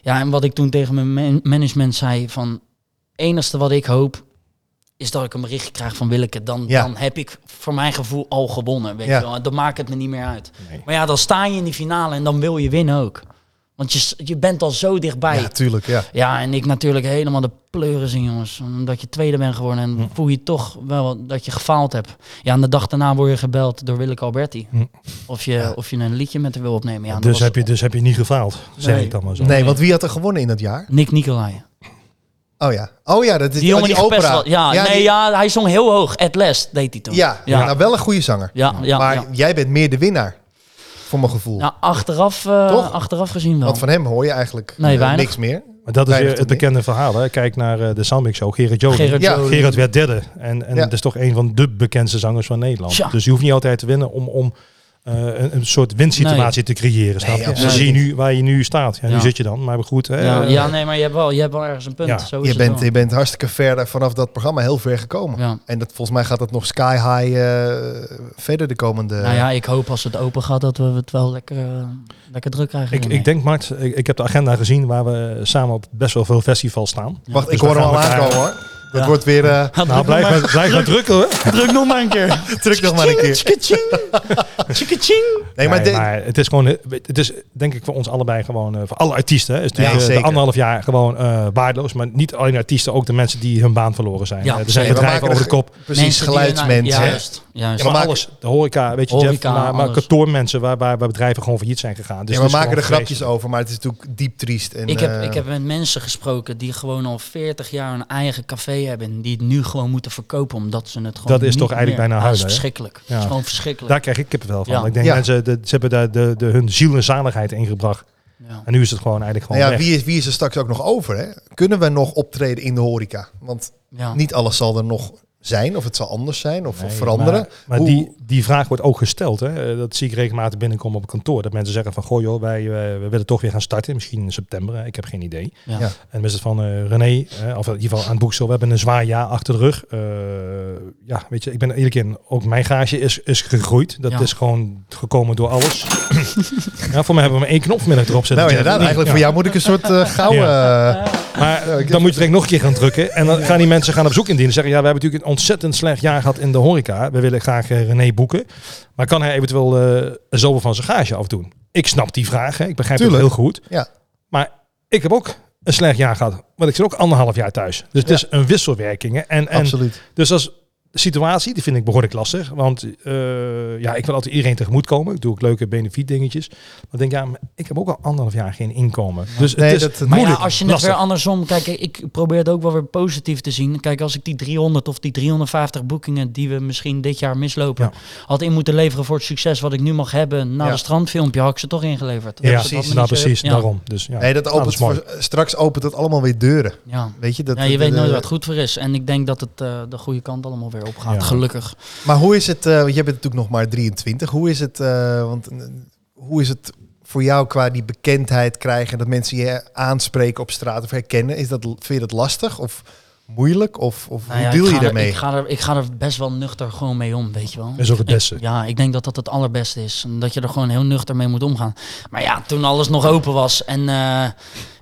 [SPEAKER 3] Ja, en wat ik toen tegen mijn man- management zei van enigste wat ik hoop is dat ik een berichtje krijg van Willeke. Dan,
[SPEAKER 1] Ja.
[SPEAKER 3] dan heb ik voor mijn gevoel al gewonnen. Weet
[SPEAKER 1] Ja.
[SPEAKER 3] je wel. Dan maakt het me niet meer uit.
[SPEAKER 2] Nee.
[SPEAKER 3] Maar ja, dan sta je in die finale en dan wil je winnen ook. Want je, s- je bent al zo dichtbij.
[SPEAKER 1] Ja, tuurlijk, ja.
[SPEAKER 3] Ja, en ik natuurlijk helemaal de pleuren zien, jongens. Omdat je tweede bent geworden en
[SPEAKER 2] Hm.
[SPEAKER 3] voel je toch wel dat je gefaald hebt. Ja, en de dag daarna word je gebeld door Willeke Alberti.
[SPEAKER 2] Hm.
[SPEAKER 3] Of, je,
[SPEAKER 1] Ja.
[SPEAKER 3] of je een liedje met haar wil opnemen. Ja, dat
[SPEAKER 2] dus,
[SPEAKER 3] was-
[SPEAKER 2] heb je, dus heb je niet gefaald, zeg
[SPEAKER 3] Nee.
[SPEAKER 2] ik dan maar zo.
[SPEAKER 1] Nee, want wie had er gewonnen in dat jaar?
[SPEAKER 3] Nick Nicolai.
[SPEAKER 1] Oh ja. Oh ja, dat is
[SPEAKER 3] Die jongen die,
[SPEAKER 1] die
[SPEAKER 3] gepest
[SPEAKER 1] opera.
[SPEAKER 3] was. Ja, nee,
[SPEAKER 1] die-
[SPEAKER 3] ja, hij zong heel hoog. At last deed hij toen.
[SPEAKER 1] Ja,
[SPEAKER 3] Ja.
[SPEAKER 1] nou wel een goede zanger.
[SPEAKER 3] ja, ja,
[SPEAKER 1] maar
[SPEAKER 3] ja.
[SPEAKER 1] jij bent meer de winnaar, voor mijn gevoel.
[SPEAKER 3] Nou, achteraf, eh,
[SPEAKER 1] Toch?
[SPEAKER 3] achteraf gezien wel.
[SPEAKER 1] Want van hem hoor je eigenlijk
[SPEAKER 3] Nee,
[SPEAKER 1] eh,
[SPEAKER 3] weinig.
[SPEAKER 1] niks meer.
[SPEAKER 2] Maar dat is
[SPEAKER 1] Weinig
[SPEAKER 2] weer het
[SPEAKER 1] te doen.
[SPEAKER 2] bekende verhaal. Hè. Kijk naar eh, de Soundmix Show, Gerard Joling.
[SPEAKER 3] Gerard
[SPEAKER 2] Gerard,
[SPEAKER 1] Ja.
[SPEAKER 3] Joling.
[SPEAKER 2] werd derde. En, en
[SPEAKER 1] Ja.
[SPEAKER 2] dat is toch een van de bekendste zangers van Nederland.
[SPEAKER 3] Tja.
[SPEAKER 2] Dus je hoeft niet altijd te winnen om, om eh, een, een soort winsituatie te creëren. Snap
[SPEAKER 1] Nee,
[SPEAKER 2] je? Dan
[SPEAKER 1] absoluut
[SPEAKER 2] zie je nu waar je nu staat. Ja, Nu
[SPEAKER 3] Ja.
[SPEAKER 2] zit je dan, maar goed. hè,
[SPEAKER 3] ja,
[SPEAKER 2] eh,
[SPEAKER 3] ja, nee, maar je hebt wel, je hebt wel ergens een punt.
[SPEAKER 2] Ja.
[SPEAKER 3] Zo is
[SPEAKER 1] Je
[SPEAKER 3] het
[SPEAKER 1] bent,
[SPEAKER 3] wel.
[SPEAKER 1] je bent hartstikke ver vanaf dat programma heel ver gekomen.
[SPEAKER 3] Ja.
[SPEAKER 1] En dat, volgens mij gaat het nog sky high eh, verder de komende...
[SPEAKER 3] Nou ja, ik hoop als het open gaat dat we het wel lekker, eh, lekker druk krijgen.
[SPEAKER 2] Ik,
[SPEAKER 3] hiermee.
[SPEAKER 2] ik denk, Mart, ik, ik heb de agenda gezien waar we samen op best wel veel festivals staan.
[SPEAKER 1] Wacht,
[SPEAKER 2] Dus
[SPEAKER 1] ik hoor
[SPEAKER 2] we
[SPEAKER 1] hem al
[SPEAKER 2] gaan elkaar-
[SPEAKER 1] aankomen hoor. Dat
[SPEAKER 3] Ja.
[SPEAKER 1] wordt weer... eh,
[SPEAKER 3] Ja,
[SPEAKER 2] Nou,
[SPEAKER 3] druk nog
[SPEAKER 2] blijf
[SPEAKER 3] maar-
[SPEAKER 2] maar, blijf maar druk hoor.
[SPEAKER 3] Druk nog maar een keer.
[SPEAKER 1] Druk nog maar een keer. Nee, maar,
[SPEAKER 2] Nee,
[SPEAKER 1] de-
[SPEAKER 2] maar het is gewoon, eh, het is denk ik voor ons allebei gewoon, eh, voor alle artiesten, hè, is
[SPEAKER 1] Ja,
[SPEAKER 2] natuurlijk eh, de
[SPEAKER 1] zeker.
[SPEAKER 2] anderhalf jaar gewoon eh, waardeloos. Maar niet alleen de artiesten, ook de mensen die hun baan verloren zijn.
[SPEAKER 3] Ja,
[SPEAKER 2] Eh, er
[SPEAKER 3] zeker.
[SPEAKER 2] zijn
[SPEAKER 1] We
[SPEAKER 2] bedrijven
[SPEAKER 1] maken
[SPEAKER 2] over de
[SPEAKER 1] er-
[SPEAKER 2] kop.
[SPEAKER 1] precies geluidsmensen. hè?
[SPEAKER 3] Juist, juist.
[SPEAKER 2] Ja, maar
[SPEAKER 1] maken-
[SPEAKER 2] alles, de horeca, weet je,
[SPEAKER 3] Horeca,
[SPEAKER 2] Jeff, maar, maar
[SPEAKER 3] alles.
[SPEAKER 2] kantoormensen waar, waar, waar bedrijven gewoon failliet zijn gegaan. Dus
[SPEAKER 1] ja,
[SPEAKER 2] het
[SPEAKER 1] we
[SPEAKER 2] is
[SPEAKER 1] maken er
[SPEAKER 2] gewoon
[SPEAKER 1] grapjes
[SPEAKER 2] vreselijk.
[SPEAKER 1] over, maar het is natuurlijk diep triest. En,
[SPEAKER 3] ik, heb,
[SPEAKER 1] eh,
[SPEAKER 3] ik heb met mensen gesproken die gewoon al 40 jaar een eigen café hebben. En die het nu gewoon moeten verkopen omdat ze het gewoon
[SPEAKER 2] Dat is
[SPEAKER 3] niet
[SPEAKER 2] toch eigenlijk
[SPEAKER 3] meer-
[SPEAKER 2] bijna
[SPEAKER 3] Ja, dat
[SPEAKER 2] huilen,
[SPEAKER 3] is
[SPEAKER 2] hè?
[SPEAKER 3] verschrikkelijk.
[SPEAKER 2] Ja.
[SPEAKER 3] Dat is gewoon verschrikkelijk.
[SPEAKER 2] Daar krijg ik kippenvel van.
[SPEAKER 3] Ja.
[SPEAKER 2] Ik denk,
[SPEAKER 1] Ja.
[SPEAKER 2] mensen, de, ze hebben daar de, de, hun ziel en zaligheid ingebracht.
[SPEAKER 3] ja.
[SPEAKER 2] En nu is het gewoon eigenlijk
[SPEAKER 1] nou
[SPEAKER 2] gewoon
[SPEAKER 1] ja,
[SPEAKER 2] weg.
[SPEAKER 1] wie, is, wie is er straks ook nog over? Hè? Kunnen we nog optreden in de horeca? Want
[SPEAKER 3] Ja.
[SPEAKER 1] niet alles zal er nog zijn, of het zal anders zijn, of, of
[SPEAKER 2] Nee,
[SPEAKER 1] veranderen.
[SPEAKER 2] Maar, maar
[SPEAKER 1] Hoe-
[SPEAKER 2] die, die vraag wordt ook gesteld. Hè? Eh, Dat zie ik regelmatig binnenkomen op kantoor. Dat mensen zeggen van, goh joh, wij, eh, we willen toch weer gaan starten. Misschien in september, hè, ik heb geen idee.
[SPEAKER 3] Ja.
[SPEAKER 1] Ja.
[SPEAKER 2] En dan is het van eh, René, eh, of in ieder geval aan het boeksel, we hebben een zwaar jaar achter de rug. Eh, ja, weet je, ik ben er eerlijk in. Ook mijn garage is, is gegroeid. Dat
[SPEAKER 3] Ja.
[SPEAKER 2] is gewoon gekomen door alles. ja, voor mij hebben we maar één knop vanmiddag erop zitten.
[SPEAKER 1] nou
[SPEAKER 2] Jeff.
[SPEAKER 1] inderdaad,
[SPEAKER 2] Ja.
[SPEAKER 1] eigenlijk voor jou moet ik een soort eh, gouden... eh,
[SPEAKER 2] Maar dan moet je direct nog een keer gaan drukken. En dan gaan die mensen gaan op zoek indienen. Zeggen, ja, we hebben natuurlijk een ontzettend slecht jaar gehad in de horeca. We willen graag eh, René boeken. Maar kan hij eventueel eh zoveel van zijn gage afdoen? Ik snap die vraag, hè. ik begrijp
[SPEAKER 1] Tuurlijk.
[SPEAKER 2] het heel goed.
[SPEAKER 1] Ja.
[SPEAKER 2] Maar ik heb ook een slecht jaar gehad. Want ik zit ook anderhalf jaar thuis. Dus het
[SPEAKER 1] Ja.
[SPEAKER 2] is een wisselwerking. hè. En, en
[SPEAKER 1] Absoluut.
[SPEAKER 2] dus als situatie, die vind ik behoorlijk lastig. Want eh, ja, ik wil altijd iedereen tegemoetkomen. Ik doe ook leuke benefiet dingetjes. Maar ik denk, ja, maar ik heb ook al anderhalf jaar geen inkomen. Dus het
[SPEAKER 1] Nee,
[SPEAKER 2] is
[SPEAKER 1] dat- Maar
[SPEAKER 3] Maar
[SPEAKER 2] moeilijk.
[SPEAKER 3] ja, als je het
[SPEAKER 2] lastig.
[SPEAKER 3] weer andersom... Kijk, ik probeer het ook wel weer positief te zien. Kijk, als ik die 300 of die 350 boekingen... die we misschien dit jaar mislopen... had in moeten leveren voor het succes wat ik nu mag hebben... na
[SPEAKER 1] Ja.
[SPEAKER 3] de strandfilmpje had ik ze toch ingeleverd.
[SPEAKER 2] Ja,
[SPEAKER 3] Dus dat
[SPEAKER 2] precies.
[SPEAKER 3] had me
[SPEAKER 2] Nou,
[SPEAKER 3] niet zo-
[SPEAKER 2] precies.
[SPEAKER 3] ja.
[SPEAKER 2] Daarom. Dus, ja.
[SPEAKER 1] Nee, dat
[SPEAKER 2] Nou,
[SPEAKER 1] opent
[SPEAKER 2] is mooi.
[SPEAKER 1] voor- straks opent het allemaal weer deuren.
[SPEAKER 3] Ja.
[SPEAKER 1] Weet je, dat, eh,
[SPEAKER 3] Ja, je
[SPEAKER 1] de-
[SPEAKER 3] weet
[SPEAKER 1] de-
[SPEAKER 2] eh,
[SPEAKER 3] nooit waar het goed voor is. En ik denk dat het eh, de goede kant allemaal weer op gaat.
[SPEAKER 2] Ja.
[SPEAKER 3] Gelukkig.
[SPEAKER 1] Maar hoe is het, eh, want jij bent natuurlijk nog maar 23, hoe is het, eh, want, eh, hoe is het voor jou qua die bekendheid krijgen, dat mensen je aanspreken op straat of herkennen? Is dat, vind je dat lastig of moeilijk of, of
[SPEAKER 3] Nou ja,
[SPEAKER 1] hoe deal
[SPEAKER 3] ik
[SPEAKER 1] je
[SPEAKER 3] ga er-
[SPEAKER 1] daarmee?
[SPEAKER 3] ik, ga er, ik ga er best wel nuchter gewoon mee om, weet je wel.
[SPEAKER 2] is ook het beste.
[SPEAKER 3] Ik- ja, ik denk dat dat het allerbeste is. En dat je er gewoon heel nuchter mee moet omgaan. Maar ja, toen alles nog open was en eh,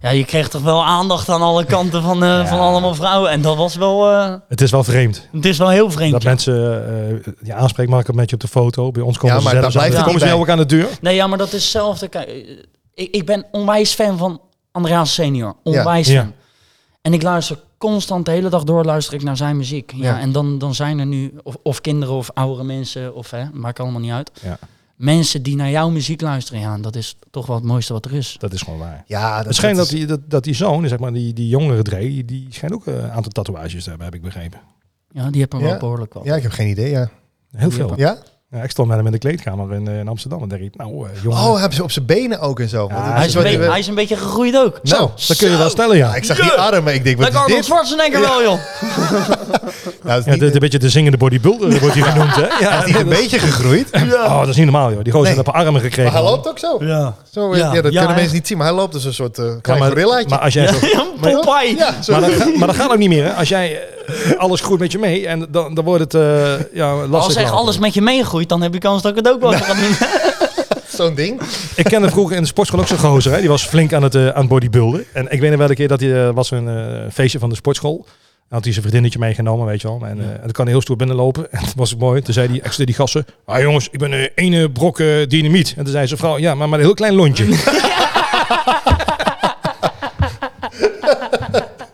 [SPEAKER 3] ja, je kreeg toch wel aandacht aan alle kanten van, eh,
[SPEAKER 2] Ja.
[SPEAKER 3] van allemaal vrouwen. En dat was wel, eh,
[SPEAKER 2] Het is wel vreemd.
[SPEAKER 3] het is wel heel vreemd.
[SPEAKER 2] Dat
[SPEAKER 3] ja.
[SPEAKER 2] mensen eh, die aanspreekmaker met je op de foto. Bij ons komen
[SPEAKER 1] Ja,
[SPEAKER 2] ze
[SPEAKER 1] maar
[SPEAKER 2] zelf
[SPEAKER 1] daar
[SPEAKER 2] aan.
[SPEAKER 1] blijft
[SPEAKER 2] Dan
[SPEAKER 1] het
[SPEAKER 2] komen ze
[SPEAKER 1] niet
[SPEAKER 2] jou ook aan de deur.
[SPEAKER 3] Nee, ja, maar dat is hetzelfde. Kijk, eh, Ik, ik ben onwijs fan van Andreas Senior. Onwijs
[SPEAKER 2] Ja.
[SPEAKER 3] fan. En ik luister constant de hele dag door luister ik naar zijn muziek. Ja,
[SPEAKER 1] Ja.
[SPEAKER 3] En dan, dan zijn er nu of, of kinderen of oudere mensen, of hè, maakt allemaal niet uit.
[SPEAKER 2] Ja.
[SPEAKER 3] Mensen die naar jouw muziek luisteren, ja, dat is toch wel het mooiste wat er is.
[SPEAKER 2] Dat is gewoon waar.
[SPEAKER 1] Ja, dat,
[SPEAKER 2] Het schijnt dat
[SPEAKER 1] is-
[SPEAKER 2] die, dat, dat die zoon, zeg maar, die, die jongere Dre, die, die schijnt ook eh, een aantal tatoeages te hebben, heb ik begrepen.
[SPEAKER 3] Ja, die hebben er
[SPEAKER 1] Ja.
[SPEAKER 3] wel behoorlijk wat.
[SPEAKER 1] Ja, ik heb geen idee, ja.
[SPEAKER 2] Heel
[SPEAKER 3] Ja.
[SPEAKER 2] veel.
[SPEAKER 1] Ja?
[SPEAKER 2] Ja, ik stond met hem in de kleedkamer in, eh, in Amsterdam en daar riep, nou eh jongen,
[SPEAKER 1] Oh, hebben ze op zijn benen ook en zo.
[SPEAKER 2] Ja,
[SPEAKER 1] Want dat
[SPEAKER 3] Hij, is een
[SPEAKER 1] wat-
[SPEAKER 3] beetje, hij is een beetje gegroeid ook.
[SPEAKER 1] Zo.
[SPEAKER 2] dat kun je wel stellen, ja.
[SPEAKER 1] Ja, ik zag
[SPEAKER 3] Ja.
[SPEAKER 1] die armen, ik denk, wat
[SPEAKER 3] Lekker
[SPEAKER 1] is
[SPEAKER 3] Arnold
[SPEAKER 1] dit?
[SPEAKER 3] Schwarzenegger wel, joh.
[SPEAKER 1] Nou, het
[SPEAKER 2] Ja,
[SPEAKER 1] is
[SPEAKER 2] dit is
[SPEAKER 1] niet,
[SPEAKER 2] een beetje de zingende bodybuilder wordt hij genoemd, hè? Ja,
[SPEAKER 1] het is een beetje gegroeid.
[SPEAKER 2] Oh, dat is niet normaal, joh. Die gozer
[SPEAKER 1] Nee.
[SPEAKER 2] heeft een paar armen gekregen.
[SPEAKER 1] Maar hij loopt ook zo.
[SPEAKER 2] Ja.
[SPEAKER 1] zo eh,
[SPEAKER 3] Ja.
[SPEAKER 1] ja, dat
[SPEAKER 3] Ja,
[SPEAKER 1] kunnen
[SPEAKER 3] hè?
[SPEAKER 1] mensen niet zien, maar hij loopt dus een soort eh
[SPEAKER 2] Ja,
[SPEAKER 1] klein
[SPEAKER 2] maar,
[SPEAKER 1] gorillaatje.
[SPEAKER 2] maar als jij zo...
[SPEAKER 3] Popeye.
[SPEAKER 1] ja, zo.
[SPEAKER 2] Maar dat, ga- maar dat gaat ook niet meer, hè? Als jij eh, alles groeit met je mee en dan, dan wordt het eh ja, lastig.
[SPEAKER 3] Als echt
[SPEAKER 2] later.
[SPEAKER 3] alles met je meegroeit, dan heb je kans dat ik het ook wel ga doen.
[SPEAKER 1] zo'n ding.
[SPEAKER 2] Ik kende vroeger in de sportschool ook zo'n gozer. Hè? Die was flink aan het, eh, aan het bodybuilden. En ik weet nog wel een keer dat hij eh, was een eh, feestje van de sportschool. Dan had hij zijn vriendinnetje meegenomen, weet je wel. En, eh en dan kan hij heel stoer binnenlopen. En dat was het mooi. Toen zei die extra die gassen. Ah jongens, ik ben eh ene brok eh, dynamiet. En toen zei zijn vrouw, ja, maar maar een heel klein lontje.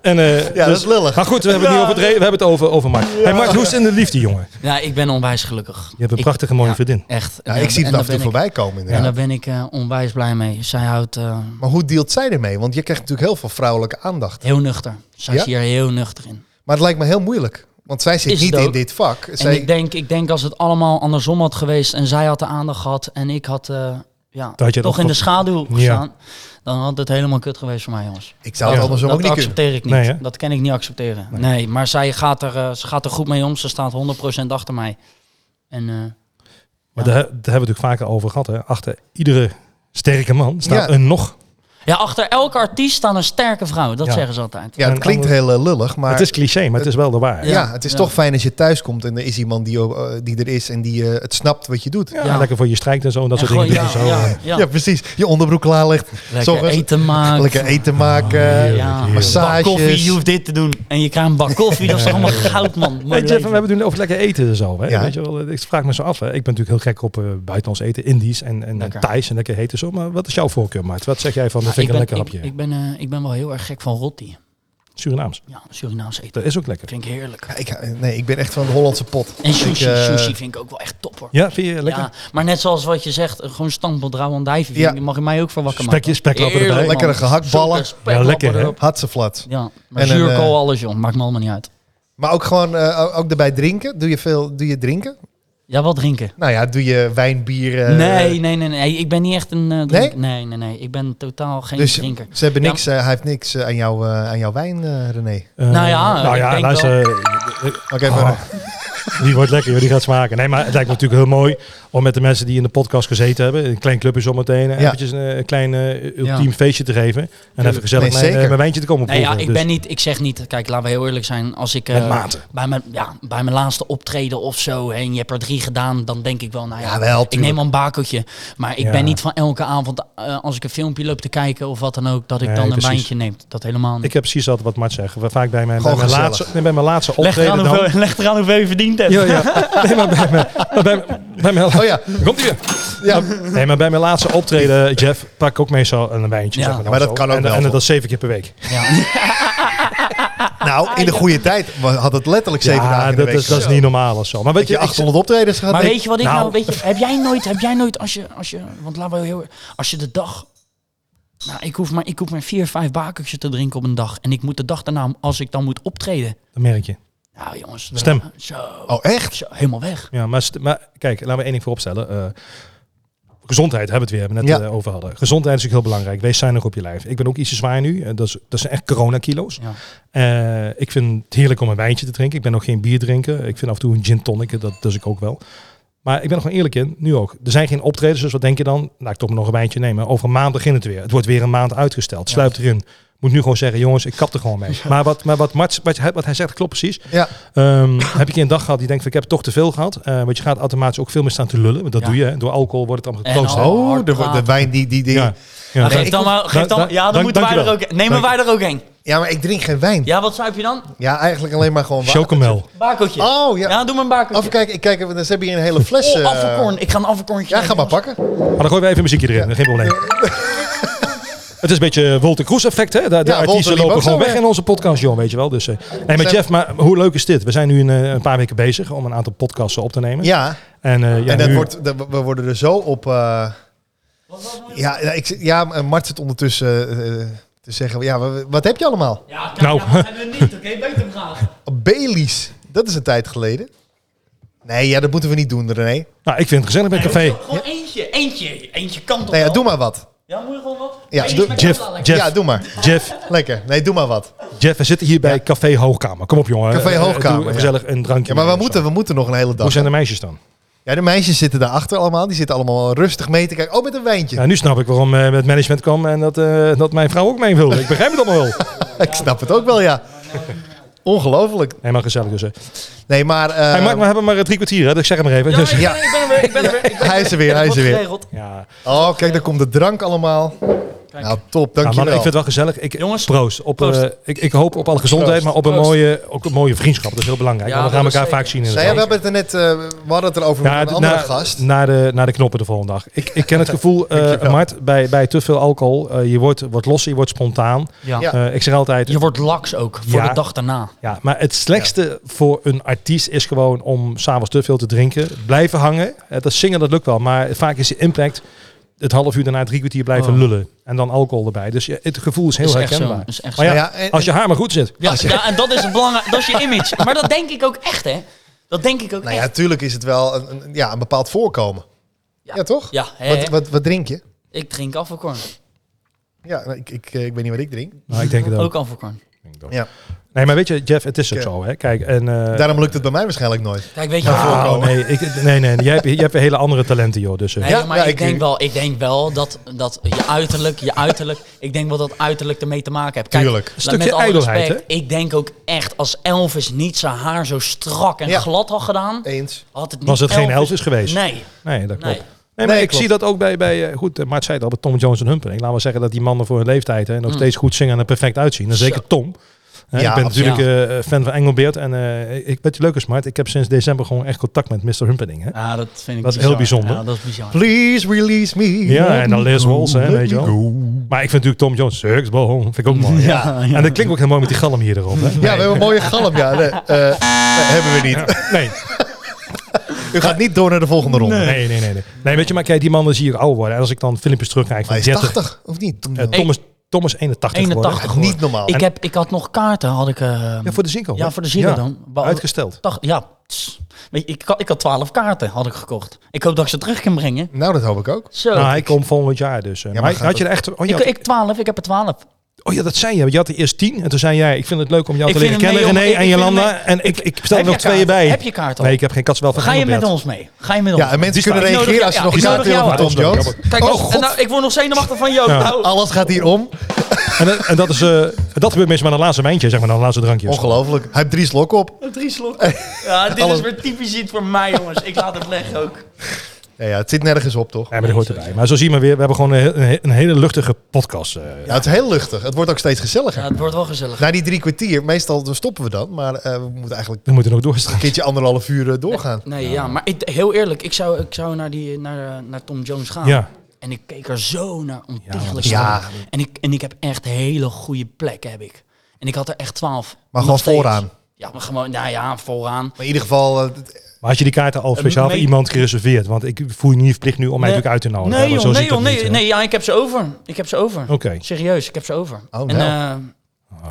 [SPEAKER 2] en, eh,
[SPEAKER 1] Ja, dat
[SPEAKER 2] dus-
[SPEAKER 1] is lullig.
[SPEAKER 2] Maar goed, we hebben het, niet over, Dre- we hebben het over, over Mark. Hey, Mark, hoe is het in de liefde, jongen?
[SPEAKER 3] Ja, ik ben onwijs gelukkig.
[SPEAKER 2] Je hebt een
[SPEAKER 3] Ik-
[SPEAKER 2] prachtige mooie
[SPEAKER 3] ja,
[SPEAKER 2] vriendin.
[SPEAKER 3] Echt.
[SPEAKER 1] Ja,
[SPEAKER 3] En-
[SPEAKER 1] ik zie het af en toe
[SPEAKER 3] en daar ben ik-
[SPEAKER 1] voorbij komen
[SPEAKER 3] En
[SPEAKER 1] inderdaad.
[SPEAKER 3] daar ben ik eh, onwijs blij mee. Zij houdt eh,
[SPEAKER 1] Maar hoe deelt zij ermee? Want je krijgt natuurlijk heel veel vrouwelijke aandacht.
[SPEAKER 3] heel nuchter. Zij
[SPEAKER 1] Ja?
[SPEAKER 3] is hier heel nuchter in.
[SPEAKER 1] Maar het lijkt me heel moeilijk. Want zij zit
[SPEAKER 3] Is
[SPEAKER 1] niet
[SPEAKER 3] het
[SPEAKER 1] in
[SPEAKER 3] ook.
[SPEAKER 1] dit vak.
[SPEAKER 3] En
[SPEAKER 1] Zij,
[SPEAKER 3] ik denk, ik denk als het allemaal andersom had geweest en zij had de aandacht gehad en ik had, eh, ja,
[SPEAKER 2] had je
[SPEAKER 3] toch
[SPEAKER 2] dat
[SPEAKER 3] in de
[SPEAKER 2] ge-
[SPEAKER 3] schaduw
[SPEAKER 2] Ja.
[SPEAKER 3] gestaan, dan had het helemaal kut geweest voor mij, jongens.
[SPEAKER 1] ik zou het
[SPEAKER 2] Ja.
[SPEAKER 1] andersom
[SPEAKER 3] dat
[SPEAKER 1] ook niet kunnen.
[SPEAKER 3] accepteer ik niet.
[SPEAKER 2] Nee, hè?
[SPEAKER 3] dat kan ik niet accepteren. Nee, maar zij gaat er, eh, ze gaat er goed mee om. Ze staat 100% achter mij. En eh,
[SPEAKER 2] Maar daar, daar hebben we het natuurlijk vaker over gehad. Hè? Achter iedere sterke man staat
[SPEAKER 1] Ja.
[SPEAKER 2] een nog
[SPEAKER 3] ja, achter elke artiest staan een sterke vrouw. Dat
[SPEAKER 2] Ja.
[SPEAKER 3] zeggen ze altijd.
[SPEAKER 1] Ja, het
[SPEAKER 2] En
[SPEAKER 1] klinkt heel eh, lullig, maar...
[SPEAKER 2] het is cliché, maar het is wel de waarheid.
[SPEAKER 1] ja,
[SPEAKER 3] Ja,
[SPEAKER 1] het is
[SPEAKER 3] ja.
[SPEAKER 1] toch fijn als je thuis komt en er is iemand die, eh, die er is en die eh, het snapt wat je doet.
[SPEAKER 2] Ja,
[SPEAKER 3] Ja.
[SPEAKER 2] lekker voor je strijkt en zo en dat
[SPEAKER 3] En
[SPEAKER 2] soort dingen.
[SPEAKER 3] gewoon,
[SPEAKER 2] doet en
[SPEAKER 3] ja,
[SPEAKER 2] zo.
[SPEAKER 3] ja, ja.
[SPEAKER 1] Ja, precies. Je onderbroek klaarlegt.
[SPEAKER 3] Lekker
[SPEAKER 1] Zorg-
[SPEAKER 3] eten maken.
[SPEAKER 1] Lekker eten maken.
[SPEAKER 3] ja.
[SPEAKER 1] Massages.
[SPEAKER 3] Bak koffie, je hoeft dit te doen. En je krijgt een bak koffie. Dat is toch allemaal goud, man. Mooi
[SPEAKER 2] Hey, Jeff, we
[SPEAKER 3] leven.
[SPEAKER 2] hebben het nu over lekker eten en zo. Hè?
[SPEAKER 1] Ja.
[SPEAKER 2] Weet je wel, ik vraag me zo af. Hè? Ik ben natuurlijk heel gek op eh, buitenlands eten, Indisch en, en
[SPEAKER 3] Lekker.
[SPEAKER 2] Thais en lekker eten zo. Maar wat is jouw voorkeur, Maart? Wat zeg jij van, dat vind
[SPEAKER 3] Nou,
[SPEAKER 2] ik een
[SPEAKER 3] ben-
[SPEAKER 2] lekker hapje?
[SPEAKER 3] ik, ik, ben, eh, ik ben wel heel erg gek van rotti.
[SPEAKER 2] Surinaams.
[SPEAKER 3] Ja, Surinaams eten.
[SPEAKER 2] Dat is ook lekker.
[SPEAKER 3] Vind ik heerlijk.
[SPEAKER 1] Ja, ik, eh, nee, ik ben echt van de Hollandse pot.
[SPEAKER 3] En sushi.
[SPEAKER 1] Ik, eh,
[SPEAKER 3] sushi vind ik ook wel echt top, hoor.
[SPEAKER 2] Ja, vind je lekker?
[SPEAKER 3] Ja, maar net zoals wat je zegt, eh, gewoon stampot rauw en dijven.
[SPEAKER 1] Ja.
[SPEAKER 3] Die mag je mij ook voor wakker maken.
[SPEAKER 2] Spekje, speklappen erbij.
[SPEAKER 3] Heerlijk, man.
[SPEAKER 1] Lekkere gehaktballen.
[SPEAKER 3] Zulke spekklappen
[SPEAKER 2] Ja, lekker, hè?
[SPEAKER 3] erop.
[SPEAKER 1] Hatseflat.
[SPEAKER 3] Ja, maar
[SPEAKER 1] En een,
[SPEAKER 3] zuurkool,
[SPEAKER 1] eh,
[SPEAKER 3] alles joh, maakt me allemaal niet uit.
[SPEAKER 1] Maar ook gewoon, eh, ook- ook erbij drinken. Doe je veel, doe je drinken?
[SPEAKER 3] Ja, wat drinken?
[SPEAKER 1] Nou ja, doe je wijn, bier? eh,
[SPEAKER 3] nee, nee, nee, nee, ik ben niet echt een eh
[SPEAKER 1] Nee?
[SPEAKER 3] drinker. Nee? nee, nee, Ik ben totaal geen
[SPEAKER 1] Dus
[SPEAKER 3] drinker.
[SPEAKER 1] ze hebben
[SPEAKER 3] Ja.
[SPEAKER 1] niks, eh, hij heeft niks eh, aan, jou, eh, aan jouw wijn, eh, René.
[SPEAKER 2] Eh,
[SPEAKER 3] Nou ja,
[SPEAKER 2] nou
[SPEAKER 3] ik
[SPEAKER 2] ja
[SPEAKER 3] denk
[SPEAKER 2] luister. eh,
[SPEAKER 1] Oké, maar-
[SPEAKER 2] Oh, die wordt lekker, joh, die gaat smaken. Nee, maar het lijkt me natuurlijk heel mooi om met de mensen die in de podcast gezeten hebben, een klein clubje zometeen, eh,
[SPEAKER 1] Ja.
[SPEAKER 2] eventjes een, eh, klein eh, ultiem
[SPEAKER 3] Ja.
[SPEAKER 2] feestje te geven. En even gezellig
[SPEAKER 1] Nee,
[SPEAKER 2] mijn, eh,
[SPEAKER 1] zeker.
[SPEAKER 2] mijn wijntje te komen
[SPEAKER 3] Nee,
[SPEAKER 2] proeven.
[SPEAKER 3] ja, ik
[SPEAKER 2] Dus
[SPEAKER 3] ben niet, ik zeg niet, kijk, laten we heel eerlijk zijn, als ik eh,
[SPEAKER 2] Met mate.
[SPEAKER 3] bij, mijn, ja, bij mijn laatste optreden of zo, hè, en je hebt er drie gedaan, dan denk ik wel, nou ja,
[SPEAKER 1] Ja, wel,
[SPEAKER 3] ik neem al een bakeltje. Maar ik
[SPEAKER 2] Ja.
[SPEAKER 3] ben niet van elke avond, eh, als ik een filmpje loop te kijken of wat dan ook, dat ik
[SPEAKER 2] Nee,
[SPEAKER 3] dan een
[SPEAKER 2] precies.
[SPEAKER 3] wijntje neem. Dat helemaal niet.
[SPEAKER 2] Dus Ik heb precies dat wat Mart zegt. We- Vaak bij mijn, bij
[SPEAKER 1] Gewoon
[SPEAKER 2] mijn,
[SPEAKER 1] gezellig.
[SPEAKER 2] laatste, nee, bij mijn laatste
[SPEAKER 3] Leg
[SPEAKER 2] optreden
[SPEAKER 3] eraan,
[SPEAKER 2] dan.
[SPEAKER 3] hoeveel, leg eraan hoeveel je verdiend hebt.
[SPEAKER 2] Ja, ja. Nee, maar bij mijn, maar bij, bij mijn,
[SPEAKER 1] Oh ja,
[SPEAKER 2] komt ie weer.
[SPEAKER 1] ja.
[SPEAKER 2] Nee, maar bij mijn laatste optreden, Jeff, pak ik ook meestal een wijntje.
[SPEAKER 3] Ja.
[SPEAKER 2] zeg maar, dan
[SPEAKER 1] Maar dat
[SPEAKER 2] zo.
[SPEAKER 1] kan ook
[SPEAKER 2] en,
[SPEAKER 1] wel,
[SPEAKER 2] En dat
[SPEAKER 1] toch?
[SPEAKER 2] is zeven keer per week.
[SPEAKER 3] Ja.
[SPEAKER 1] nou, in de goede tijd wa- had het letterlijk zeven dagen
[SPEAKER 2] ja,
[SPEAKER 1] in de
[SPEAKER 2] dat
[SPEAKER 1] week.
[SPEAKER 2] is, dat is
[SPEAKER 1] Zo.
[SPEAKER 2] niet normaal of zo. Maar weet
[SPEAKER 1] Dat je
[SPEAKER 2] je, ik-
[SPEAKER 1] 800 optredens gaat
[SPEAKER 3] Maar weet je wat ik nou,
[SPEAKER 2] Nou.
[SPEAKER 3] weet je, heb jij nooit, heb jij nooit als je, als je, want laten we heel, e- als je de dag, nou ik hoef maar, ik hoef maar vier, vijf bakertjes te drinken op een dag en ik moet de dag daarna, als ik dan moet optreden,
[SPEAKER 2] dat merk je.
[SPEAKER 3] nou jongens,
[SPEAKER 2] Stem.
[SPEAKER 3] zo,
[SPEAKER 1] Oh, echt?
[SPEAKER 3] zo helemaal weg.
[SPEAKER 2] Ja, maar, st- maar kijk, laten we één ding vooropstellen. eh gezondheid hebben we het weer hebben we net
[SPEAKER 1] Ja.
[SPEAKER 2] eh, over hadden. Gezondheid is natuurlijk heel belangrijk. Wees zuinig op je lijf. Ik ben ook iets te zwaar nu. Eh, dat, is, dat zijn echt coronakilo's.
[SPEAKER 3] Ja.
[SPEAKER 2] Eh, ik vind het heerlijk om een wijntje te drinken. Ik ben ook geen bierdrinker. Ik vind af en toe een gin tonic. eh, Dat dus ik ook wel. Maar ik ben er gewoon eerlijk in, nu ook. Er zijn geen optredens, dus wat denk je dan? Laat ik toch maar nog een wijntje nemen. Over een maand begint het weer. Het wordt weer een maand uitgesteld. Sluip erin. Moet nu gewoon zeggen, jongens, ik kap er gewoon mee. Maar, wat, maar wat, Mats, wat, hij- wat hij zegt klopt precies.
[SPEAKER 1] Ja.
[SPEAKER 2] Ehm, heb je een keer een dag gehad die denkt, van, ik heb toch te veel gehad. Eh, want je gaat automatisch ook veel meer staan te lullen. Want dat
[SPEAKER 3] Ja.
[SPEAKER 2] doe je. hè. Door alcohol wordt het allemaal
[SPEAKER 3] En
[SPEAKER 2] getroost. hè.
[SPEAKER 3] al-
[SPEAKER 1] Oh,
[SPEAKER 3] Nou, Hard
[SPEAKER 1] de, de
[SPEAKER 3] praten.
[SPEAKER 1] wijn die... die, die.
[SPEAKER 2] Ja.
[SPEAKER 1] Ja.
[SPEAKER 2] Ja.
[SPEAKER 1] Nee,
[SPEAKER 3] Nou, Geef
[SPEAKER 1] ik
[SPEAKER 3] dan
[SPEAKER 1] hoef-
[SPEAKER 3] maar, geef
[SPEAKER 2] dank-
[SPEAKER 3] dan,
[SPEAKER 2] dank-
[SPEAKER 3] ja, dan
[SPEAKER 2] dank-
[SPEAKER 3] moeten wij er
[SPEAKER 2] dankjewel.
[SPEAKER 3] ook, nemen wij er ook heen.
[SPEAKER 1] maar ik drink geen wijn. Ja,
[SPEAKER 3] Ja, wat zuip je dan?
[SPEAKER 1] eigenlijk alleen maar gewoon water.
[SPEAKER 2] Chocomel.
[SPEAKER 3] Bakeltje.
[SPEAKER 1] Oh, ja.
[SPEAKER 3] ja. doe maar een bakeltje.
[SPEAKER 1] Even kijken, ik kijk, even, ze hebben hier een hele fles.
[SPEAKER 3] Oh,
[SPEAKER 1] eh,
[SPEAKER 3] afvalkorn. Ik ga een afvalkorntje.
[SPEAKER 1] Ja,
[SPEAKER 3] nemen,
[SPEAKER 1] ga maar
[SPEAKER 3] jongens.
[SPEAKER 1] pakken.
[SPEAKER 2] Maar dan gooien we even muziekje erin. Geen probleem. Het is een beetje Wolter Kroes effect, hè? De, de
[SPEAKER 1] Ja, Wolter
[SPEAKER 2] artiesten
[SPEAKER 1] liep
[SPEAKER 2] lopen
[SPEAKER 1] ook
[SPEAKER 2] gewoon
[SPEAKER 1] zo
[SPEAKER 2] weg
[SPEAKER 1] weg.
[SPEAKER 2] in onze podcast, joh, weet je wel. Dus, eh. Nee, maar
[SPEAKER 1] Zijn-
[SPEAKER 2] Jeff, maar hoe leuk is dit? We zijn nu een, eh, een paar weken bezig om een aantal podcasts op te nemen.
[SPEAKER 1] Ja,
[SPEAKER 2] En, eh, ja,
[SPEAKER 1] en dat
[SPEAKER 2] nu-
[SPEAKER 1] wordt, dat- we worden er zo op... eh, ja, ja, ik, zit- ja, eh, Mart zit ondertussen eh, te zeggen, ja, wa- wat heb je allemaal? Oh,
[SPEAKER 3] Ja, kijk,
[SPEAKER 2] Nou.
[SPEAKER 3] ja, dat hebben we niet, oké? Beter vragen.
[SPEAKER 1] Baileys, dat is een tijd geleden. Nee, ja, dat moeten we niet doen, René.
[SPEAKER 2] Nou, ik vind het gezellig met een café.
[SPEAKER 3] Gewoon eentje, eentje. Eentje kan toch
[SPEAKER 1] Nee, ja,
[SPEAKER 3] wel?
[SPEAKER 1] doe maar wat.
[SPEAKER 3] Ja, moet je gewoon wat?
[SPEAKER 1] Ja,
[SPEAKER 3] Eentje
[SPEAKER 1] doe-
[SPEAKER 3] met
[SPEAKER 2] Jeff,
[SPEAKER 3] kant wel lekker.
[SPEAKER 2] Jeff,
[SPEAKER 1] Ja, doe maar.
[SPEAKER 2] Jeff,
[SPEAKER 1] Lekker. Nee, doe maar wat.
[SPEAKER 2] Jeff, we zitten hier bij Café Hoogkamer. Kom op, jongen.
[SPEAKER 1] Café
[SPEAKER 2] Eh, eh,
[SPEAKER 1] Hoogkamer,
[SPEAKER 2] doe
[SPEAKER 1] ja.
[SPEAKER 2] gezellig een drankje.
[SPEAKER 1] Ja, maar we
[SPEAKER 2] nemen of zo.
[SPEAKER 1] moeten, we moeten nog een hele dag.
[SPEAKER 2] Hoe zijn de meisjes dan?
[SPEAKER 1] Ja, de meisjes zitten daarachter allemaal. Die zitten allemaal rustig mee te kijken. Oh, met een wijntje.
[SPEAKER 2] Ja, nu snap ik waarom eh, het management kwam en dat, eh, dat mijn vrouw ook mee wilde. Ik begrijp het allemaal wel.
[SPEAKER 1] Ik snap het ook wel, ja. Ongelooflijk.
[SPEAKER 2] Nee, maar gezellig dus. hè.
[SPEAKER 1] Nee, maar... eh,
[SPEAKER 2] hey, Mark, we hebben maar eh, drie kwartier, hè? Dus ik zeg het maar even.
[SPEAKER 3] Ja,
[SPEAKER 2] Dus-
[SPEAKER 3] ik,
[SPEAKER 1] Ja.
[SPEAKER 3] ben, ik ben er weer, ik ben er weer. Ik ben
[SPEAKER 1] Hij is er weer, hij is er weer.
[SPEAKER 2] ja.
[SPEAKER 1] Oh, kijk, daar komt de drank allemaal.
[SPEAKER 3] Kijk.
[SPEAKER 1] Nou, top.
[SPEAKER 2] Ja, man, ik
[SPEAKER 1] Dankjewel.
[SPEAKER 2] vind het wel gezellig. Ik,
[SPEAKER 3] Jongens,
[SPEAKER 2] proost. Op,
[SPEAKER 3] proost.
[SPEAKER 2] eh, ik, ik hoop op alle gezondheid,
[SPEAKER 1] Proost.
[SPEAKER 2] maar op een
[SPEAKER 3] Proost.
[SPEAKER 2] mooie, ook een mooie vriendschap. Dat is heel belangrijk.
[SPEAKER 3] Ja,
[SPEAKER 2] want we gaan
[SPEAKER 3] dat
[SPEAKER 2] elkaar
[SPEAKER 3] is
[SPEAKER 2] vaak zien. In
[SPEAKER 1] Nou ja, we hebben het er net... eh, we hadden het erover met een andere
[SPEAKER 2] na,
[SPEAKER 1] gast.
[SPEAKER 2] Naar de, naar de knoppen de volgende dag. Ik, ik ken het gevoel, eh,
[SPEAKER 1] Dankjewel.
[SPEAKER 2] Mart, bij, bij te veel alcohol. eh, je wordt wat los, je wordt spontaan.
[SPEAKER 3] Ja.
[SPEAKER 1] Ja.
[SPEAKER 2] Eh, ik zeg altijd,
[SPEAKER 3] Je wordt laks ook voor
[SPEAKER 2] Ja.
[SPEAKER 3] de dag daarna.
[SPEAKER 2] Ja, maar het slechtste voor een artiest is gewoon om s'avonds te veel te drinken. Blijven hangen. Eh, Dat zingen, dat lukt wel. Maar vaak is de impact het half uur daarna drie kwartier blijven
[SPEAKER 3] Oh.
[SPEAKER 2] lullen. En dan alcohol erbij. Dus je, het gevoel is heel
[SPEAKER 3] is echt zo.
[SPEAKER 2] herkenbaar.
[SPEAKER 3] Is echt zo.
[SPEAKER 2] Maar ja,
[SPEAKER 1] Ja, en-
[SPEAKER 2] als je haar maar goed zit.
[SPEAKER 3] Ja, ja, en dat is het belangrijk. Dat is je image. Maar dat denk ik ook echt, hè? Dat denk ik ook
[SPEAKER 1] Nou ja,
[SPEAKER 3] echt.
[SPEAKER 1] natuurlijk is het wel een, een- ja, een bepaald voorkomen. Ja,
[SPEAKER 3] Ja.
[SPEAKER 1] toch?
[SPEAKER 3] Ja, hè,
[SPEAKER 1] Wat, wat, wat drink je?
[SPEAKER 3] ik drink afvalkorn.
[SPEAKER 1] Ja, nou, ik, ik, eh, ik weet niet wat ik drink.
[SPEAKER 2] Nou, ik denk het ook.
[SPEAKER 3] Ook afvalkorn.
[SPEAKER 1] Ja.
[SPEAKER 2] Nee, maar weet je, Jeff, het is ook
[SPEAKER 1] Oké.
[SPEAKER 2] zo. Hè? Kijk, en... eh,
[SPEAKER 1] Daarom lukt het bij mij waarschijnlijk nooit.
[SPEAKER 3] Kijk, weet je
[SPEAKER 2] nou,
[SPEAKER 3] wat?
[SPEAKER 2] nee, ik, nee, nee. Jij hebt, jij hebt hele andere talenten, joh. Dus, eh,
[SPEAKER 3] Nee,
[SPEAKER 1] Ja,
[SPEAKER 3] maar
[SPEAKER 1] ja,
[SPEAKER 3] ik,
[SPEAKER 1] ik-
[SPEAKER 3] denk wel, ik denk wel dat, dat je uiterlijk, je uiterlijk, ik denk wel dat uiterlijk ermee te maken heeft. Kijk,
[SPEAKER 1] Tuurlijk.
[SPEAKER 3] la-
[SPEAKER 2] Stukje
[SPEAKER 3] met alle
[SPEAKER 2] ijdelheid,
[SPEAKER 3] respect, ik denk ook echt, als Elvis niet zijn haar zo strak en
[SPEAKER 1] Ja.
[SPEAKER 3] glad had gedaan,
[SPEAKER 1] Eens.
[SPEAKER 3] had het niet
[SPEAKER 2] Was het geen Elvis geweest?
[SPEAKER 3] Nee,
[SPEAKER 2] Nee, dat klopt.
[SPEAKER 3] nee.
[SPEAKER 2] Nee. maar
[SPEAKER 1] Nee,
[SPEAKER 2] ik
[SPEAKER 1] klopt.
[SPEAKER 2] zie dat ook bij, bij eh, goed, eh, Maart zei het al, bij Tom Jones en Humperdinck. Laten we zeggen dat die mannen voor hun leeftijd hè, nog
[SPEAKER 3] Mm.
[SPEAKER 2] steeds goed zingen en er perfect uitzien. En
[SPEAKER 3] Zo.
[SPEAKER 2] zeker Tom. Hè,
[SPEAKER 1] Ja,
[SPEAKER 2] ik ben
[SPEAKER 1] absoluut.
[SPEAKER 2] natuurlijk eh, fan van Engelbeert. En eh, ik weet je leuk is, Maart, ik heb sinds december gewoon echt contact met Mr. Humperdinck. Hè?
[SPEAKER 3] Ja, dat vind ik
[SPEAKER 2] Dat is heel bijzonder.
[SPEAKER 3] Ja, dat is bizar.
[SPEAKER 1] Please release me.
[SPEAKER 2] Ja, en dan Les Walls, hè,
[SPEAKER 1] Let
[SPEAKER 2] weet je
[SPEAKER 1] me
[SPEAKER 2] wel. Maar ik vind natuurlijk Tom Jones, Circus Ball, vind ik ook mooi. hè.
[SPEAKER 3] Ja, ja.
[SPEAKER 2] En dat klinkt ook heel mooi met die galm hier erop. Hè?
[SPEAKER 1] Ja, we hebben een mooie galm. Ja, nee, eh, nee, hebben we niet.
[SPEAKER 2] Nee,
[SPEAKER 1] U gaat niet door naar de volgende ronde.
[SPEAKER 2] nee, nee, nee, nee. Nee, weet je, maar kijk, die mannen zie ik ouder worden. En als ik dan filmpjes terugkijk van
[SPEAKER 1] Hij is
[SPEAKER 2] 30...
[SPEAKER 1] 80, of niet? Toen
[SPEAKER 2] eh, Tom, is, Tom is 81 geworden.
[SPEAKER 3] 81.
[SPEAKER 1] Ja, niet normaal.
[SPEAKER 3] Ik, heb, ik had nog kaarten, had ik... eh,
[SPEAKER 2] Ja, voor de Zinko.
[SPEAKER 3] ja,
[SPEAKER 2] hè?
[SPEAKER 3] voor de Ziggo dan. Wa-
[SPEAKER 2] Uitgesteld.
[SPEAKER 3] Dacht, ja, tss. Weet je, ik, had- ik had 12 kaarten had ik gekocht. Ik hoop dat ik ze terug kan brengen.
[SPEAKER 1] Nou, dat hoop ik ook.
[SPEAKER 3] Zo.
[SPEAKER 2] nou, hij komt volgend jaar dus. eh.
[SPEAKER 1] maar
[SPEAKER 2] maar
[SPEAKER 1] gaat
[SPEAKER 2] had je er echt... Oh, je
[SPEAKER 3] ik,
[SPEAKER 2] had-
[SPEAKER 3] ik 12, ik heb er 12.
[SPEAKER 2] oh ja, dat zei je. want Je had er eerst tien. En toen zei jij, ik vind het leuk om jou
[SPEAKER 3] Ik
[SPEAKER 2] te leren
[SPEAKER 3] vind hem
[SPEAKER 2] kennen,
[SPEAKER 3] mee,
[SPEAKER 2] René
[SPEAKER 3] jongen.
[SPEAKER 2] en
[SPEAKER 3] Ik-
[SPEAKER 2] Jolanda. En
[SPEAKER 3] ik vind
[SPEAKER 2] ik, ik stel er nog
[SPEAKER 3] je kaart?
[SPEAKER 2] twee bij.
[SPEAKER 3] Heb je kaart al?
[SPEAKER 2] Nee, ik heb geen kans wel van
[SPEAKER 3] Ga je met
[SPEAKER 2] Engelbert.
[SPEAKER 3] ons mee? Ga je met ons
[SPEAKER 1] Ja, en mensen
[SPEAKER 2] Die
[SPEAKER 1] kunnen
[SPEAKER 3] staat-
[SPEAKER 1] reageren
[SPEAKER 3] Ik
[SPEAKER 1] als ze
[SPEAKER 3] nodig-
[SPEAKER 1] nog een
[SPEAKER 3] ja,
[SPEAKER 1] kaart
[SPEAKER 3] ik
[SPEAKER 1] willen van
[SPEAKER 3] nodig
[SPEAKER 1] Tom
[SPEAKER 2] jou
[SPEAKER 1] Jones.
[SPEAKER 2] uit.
[SPEAKER 3] Kijk,
[SPEAKER 1] Oh,
[SPEAKER 3] oh,
[SPEAKER 1] god.
[SPEAKER 3] nou, ik word nog zenuwachtig van jou.
[SPEAKER 2] Ja.
[SPEAKER 3] Nou,
[SPEAKER 1] Alles gaat hier om.
[SPEAKER 2] En, dat- en dat is... eh, dat gebeurt meestal met een laatste wijntje, zeg maar. Dan een laatste drankje.
[SPEAKER 1] Ongelooflijk. Hij heeft drie slokken op.
[SPEAKER 3] Oh, Drie slokken. Ja, dit
[SPEAKER 1] Alles-
[SPEAKER 3] is weer typisch iets voor mij, jongens. Ik laat het leggen ook.
[SPEAKER 1] Ja, ja, het zit nergens op, toch?
[SPEAKER 2] Ja, maar dat hoort erbij. Maar zo zien we weer. We hebben gewoon een, he- een he- een hele luchtige podcast. eh.
[SPEAKER 1] Ja, het is heel luchtig. Het wordt ook steeds gezelliger.
[SPEAKER 3] Ja, het wordt wel gezellig.
[SPEAKER 1] Na die drie kwartier, meestal dan stoppen we dan. Maar eh, we moeten eigenlijk
[SPEAKER 2] We moeten nog
[SPEAKER 1] een
[SPEAKER 2] doorstralen.
[SPEAKER 1] keertje anderhalf uur eh, doorgaan.
[SPEAKER 3] Nee, ja, maar ik, heel eerlijk, ik zou, ik zou naar, die, naar, eh, naar Tom Jones gaan.
[SPEAKER 2] Ja.
[SPEAKER 3] En ik keek er zo naar ontiegelijk.
[SPEAKER 1] Ja,
[SPEAKER 3] naar. En ik, en ik heb echt hele goede plekken, heb ik. En ik had er echt 12.
[SPEAKER 1] maar
[SPEAKER 3] Nog
[SPEAKER 1] gewoon
[SPEAKER 3] steeds.
[SPEAKER 1] vooraan.
[SPEAKER 3] Ja, maar gewoon, nou ja, vooraan.
[SPEAKER 1] Maar in ieder geval, eh, het-
[SPEAKER 2] Maar had je die kaarten al speciaal
[SPEAKER 3] mee-
[SPEAKER 2] voor iemand gereserveerd? Want ik voel je niet verplicht nu om mij
[SPEAKER 3] Eh, Nee.
[SPEAKER 2] natuurlijk uit te nodigen.
[SPEAKER 3] Nee,
[SPEAKER 2] hè, want
[SPEAKER 3] joh,
[SPEAKER 2] zo
[SPEAKER 3] nee,
[SPEAKER 2] zit het
[SPEAKER 3] joh, nee,
[SPEAKER 2] niet, hè.
[SPEAKER 3] nee, ja, ik heb ze over. Ik heb ze over.
[SPEAKER 2] Oké. Ah.
[SPEAKER 3] Serieus, ik heb ze over.
[SPEAKER 1] Oh,
[SPEAKER 3] en,
[SPEAKER 1] wel.
[SPEAKER 3] eh,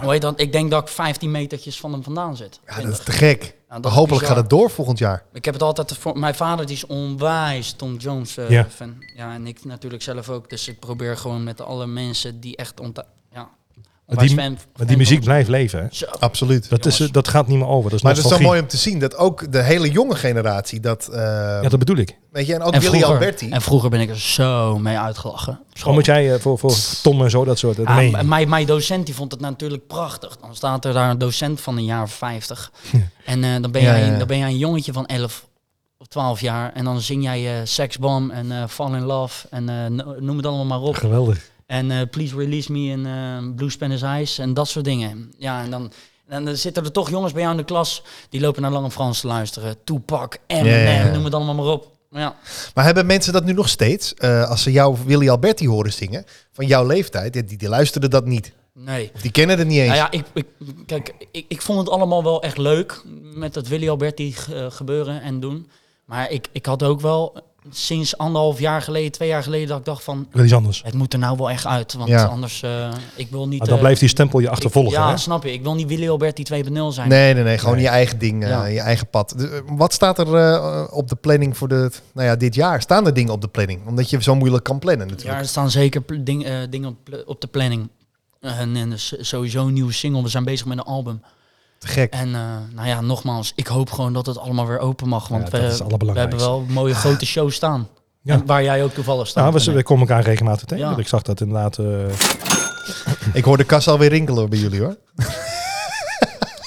[SPEAKER 3] hoe heet dat? Ik denk dat ik 15 metertjes van hem vandaan zit.
[SPEAKER 1] ja, dat is
[SPEAKER 3] 20.
[SPEAKER 1] te gek.
[SPEAKER 3] dat
[SPEAKER 1] Maar
[SPEAKER 3] is
[SPEAKER 1] hopelijk
[SPEAKER 3] bizar.
[SPEAKER 1] gaat het door volgend jaar.
[SPEAKER 3] Ik heb het altijd voor mijn vader, die is onwijs Tom Jones eh,
[SPEAKER 2] Ja.
[SPEAKER 3] fan. Ja, en ik natuurlijk zelf ook. Dus ik probeer gewoon met alle mensen die echt ont ja, onwijs
[SPEAKER 2] die-
[SPEAKER 3] fan.
[SPEAKER 2] Maar die muziek blijft leven, hè?
[SPEAKER 3] Zo.
[SPEAKER 1] Absoluut.
[SPEAKER 2] Dat, is, eh, dat gaat niet meer over. Dat is
[SPEAKER 1] Maar het is zo
[SPEAKER 2] nostalgie.
[SPEAKER 1] mooi om te zien dat ook de hele jonge generatie dat... eh,
[SPEAKER 2] Ja, dat bedoel ik.
[SPEAKER 1] Weet je, en ook
[SPEAKER 3] en,
[SPEAKER 1] Willy
[SPEAKER 3] vroeger,
[SPEAKER 1] Alberti.
[SPEAKER 3] en vroeger ben ik er zo mee uitgelachen.
[SPEAKER 2] Gewoon moet jij eh, voor, voor Tom en zo dat soort. Dat
[SPEAKER 3] Ja,
[SPEAKER 2] meen je.
[SPEAKER 3] m- mijn, mijn docent die vond het natuurlijk prachtig. Dan staat er daar een docent van een jaar of 50. En eh, dan, ben
[SPEAKER 1] Ja,
[SPEAKER 3] jij,
[SPEAKER 1] ja, ja.
[SPEAKER 3] dan ben jij een jongetje van 11 of 12 jaar. En dan zing jij eh, Sex Bomb en eh, Fall in Love. En eh, no- noem het allemaal maar op.
[SPEAKER 2] Geweldig.
[SPEAKER 3] En eh, Please Release Me en eh Blue Spanish Eyes en dat soort dingen. Ja, en dan, en dan zitten er toch jongens bij jou in de klas... die lopen naar Lange Frans te luisteren. Tupac, Eminem,
[SPEAKER 1] Ja, ja, ja.
[SPEAKER 3] noem het allemaal maar op. Ja.
[SPEAKER 1] Maar hebben mensen dat nu nog steeds? Eh, als ze jou Willy Alberti horen zingen, van jouw leeftijd, ja, die, die luisteren dat niet.
[SPEAKER 3] Nee.
[SPEAKER 1] Of die kennen het niet eens.
[SPEAKER 3] Nou ja, ik, ik, kijk, ik, ik vond het allemaal wel echt leuk met dat Willy Alberti eh, gebeuren en doen. Maar ik, ik had ook wel sinds anderhalf jaar geleden, twee jaar geleden, dat ik dacht van...
[SPEAKER 2] Ik wil iets anders.
[SPEAKER 3] Het moet er nou wel echt uit, want
[SPEAKER 1] Ja.
[SPEAKER 3] anders... eh, ik wil niet...
[SPEAKER 2] Maar dan
[SPEAKER 3] eh,
[SPEAKER 2] blijft die stempel je
[SPEAKER 3] ik-
[SPEAKER 2] achtervolgen.
[SPEAKER 3] Ja,
[SPEAKER 2] hè?
[SPEAKER 3] snap je. Ik wil niet Willy Alberti 2.0 zijn.
[SPEAKER 1] Nee, nee, nee. Gewoon
[SPEAKER 2] Nee.
[SPEAKER 1] je eigen ding, eh,
[SPEAKER 3] Ja.
[SPEAKER 1] je eigen pad. Dus, eh, wat staat er eh, op de planning voor de, nou ja, dit jaar? Staan er dingen op de planning? Omdat je zo moeilijk kan plannen
[SPEAKER 3] Ja,
[SPEAKER 1] natuurlijk.
[SPEAKER 3] er staan zeker pl- ding- eh, dingen op, pl- op de planning. En, en dus sowieso een nieuwe single. We zijn bezig met een album.
[SPEAKER 1] Te gek.
[SPEAKER 3] En eh, nou ja, nogmaals, ik hoop gewoon dat het allemaal weer open mag. Want
[SPEAKER 2] Ja,
[SPEAKER 3] we,
[SPEAKER 2] dat is het
[SPEAKER 3] we
[SPEAKER 2] allerbelangrijkste.
[SPEAKER 3] hebben wel mooie grote shows staan.
[SPEAKER 2] Ja.
[SPEAKER 3] En Waar jij ook toevallig staat.
[SPEAKER 2] Nou, we, we komen elkaar regelmatig tegen.
[SPEAKER 3] Ja.
[SPEAKER 2] Ik zag dat inderdaad. eh,
[SPEAKER 1] Ik hoor de kas alweer rinkelen hoor, bij jullie hoor.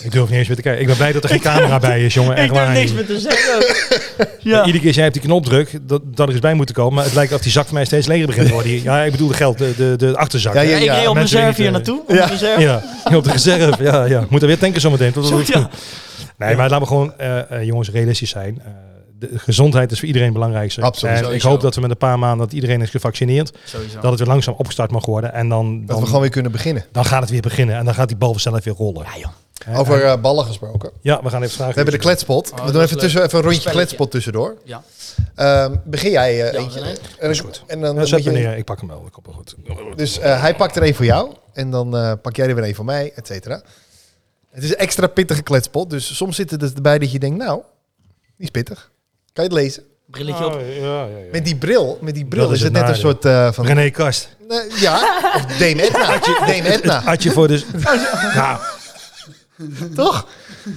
[SPEAKER 2] ik durf niet eens meer te kijken. Ik ben blij dat er geen camera bij is, jongen. Echt
[SPEAKER 3] ik heb
[SPEAKER 2] waar.
[SPEAKER 3] niks meer te zeggen. ja.
[SPEAKER 2] Iedere keer jij hebt die knop druk, dat, dat er eens bij moeten komen. Maar het lijkt of die zak voor mij steeds leger begint te worden. Ja, ik bedoel de geld, de, de, de achterzak.
[SPEAKER 1] Ja,
[SPEAKER 2] hè?
[SPEAKER 1] ja,
[SPEAKER 3] Ja, ik reed op mijn
[SPEAKER 2] mensen weten-
[SPEAKER 3] reserve hier naartoe. Op
[SPEAKER 1] Ja.
[SPEAKER 3] mijn reserve.
[SPEAKER 2] Ja, ja, op de reserve. Ja, ja. Moet er weer tanken zometeen. Tot-
[SPEAKER 3] Zo, ja.
[SPEAKER 2] Nee, maar laten we gewoon, eh, eh, jongens, realistisch zijn. Eh, de gezondheid is voor iedereen het belangrijkste.
[SPEAKER 1] Absoluut.
[SPEAKER 2] En ik
[SPEAKER 3] Sowieso.
[SPEAKER 2] hoop dat we met een paar maanden dat iedereen is gevaccineerd.
[SPEAKER 3] Sowieso.
[SPEAKER 2] Dat het weer langzaam opgestart mag worden. En dan,
[SPEAKER 1] Dat
[SPEAKER 2] dan,
[SPEAKER 1] we gewoon weer kunnen beginnen.
[SPEAKER 2] dan gaat het weer beginnen. En dan gaat die bal vanzelf weer rollen.
[SPEAKER 3] Ja, joh.
[SPEAKER 2] Hè,
[SPEAKER 1] Over
[SPEAKER 2] en-
[SPEAKER 1] eh, ballen gesproken.
[SPEAKER 2] ja, we gaan even vragen.
[SPEAKER 1] We hebben de kletspot.
[SPEAKER 3] Oh,
[SPEAKER 1] we
[SPEAKER 3] dat is
[SPEAKER 1] doen even,
[SPEAKER 3] leuk.
[SPEAKER 1] tussen, even een rondje
[SPEAKER 3] Spelletje.
[SPEAKER 1] kletspot tussendoor.
[SPEAKER 3] Ja.
[SPEAKER 1] Ehm, begin jij eh,
[SPEAKER 3] Ja,
[SPEAKER 1] eentje.
[SPEAKER 3] René.
[SPEAKER 1] En,
[SPEAKER 2] Is goed.
[SPEAKER 1] en dan
[SPEAKER 2] Ja,
[SPEAKER 1] moet
[SPEAKER 2] zet
[SPEAKER 1] je-
[SPEAKER 2] me neer. Ik pak hem wel. Ik kom wel goed.
[SPEAKER 1] Dus eh, hij pakt er één voor jou. En dan eh, pak jij er weer één voor mij, et cetera. Het is een extra pittige kletspot. Dus soms zitten er erbij dat je denkt, nou, die is pittig. Kan je het lezen?
[SPEAKER 3] Brilletje op.
[SPEAKER 2] Ah, ja, ja, ja.
[SPEAKER 1] Met die bril, met die bril
[SPEAKER 2] Dat
[SPEAKER 1] is,
[SPEAKER 2] is
[SPEAKER 1] het
[SPEAKER 2] het
[SPEAKER 1] net een
[SPEAKER 2] nadeel.
[SPEAKER 1] soort eh, van...
[SPEAKER 2] René Kast.
[SPEAKER 1] Nee, ja, of Dame Edna. Dame Edna,
[SPEAKER 2] Had je voor dus. Nou,
[SPEAKER 1] toch? Ja,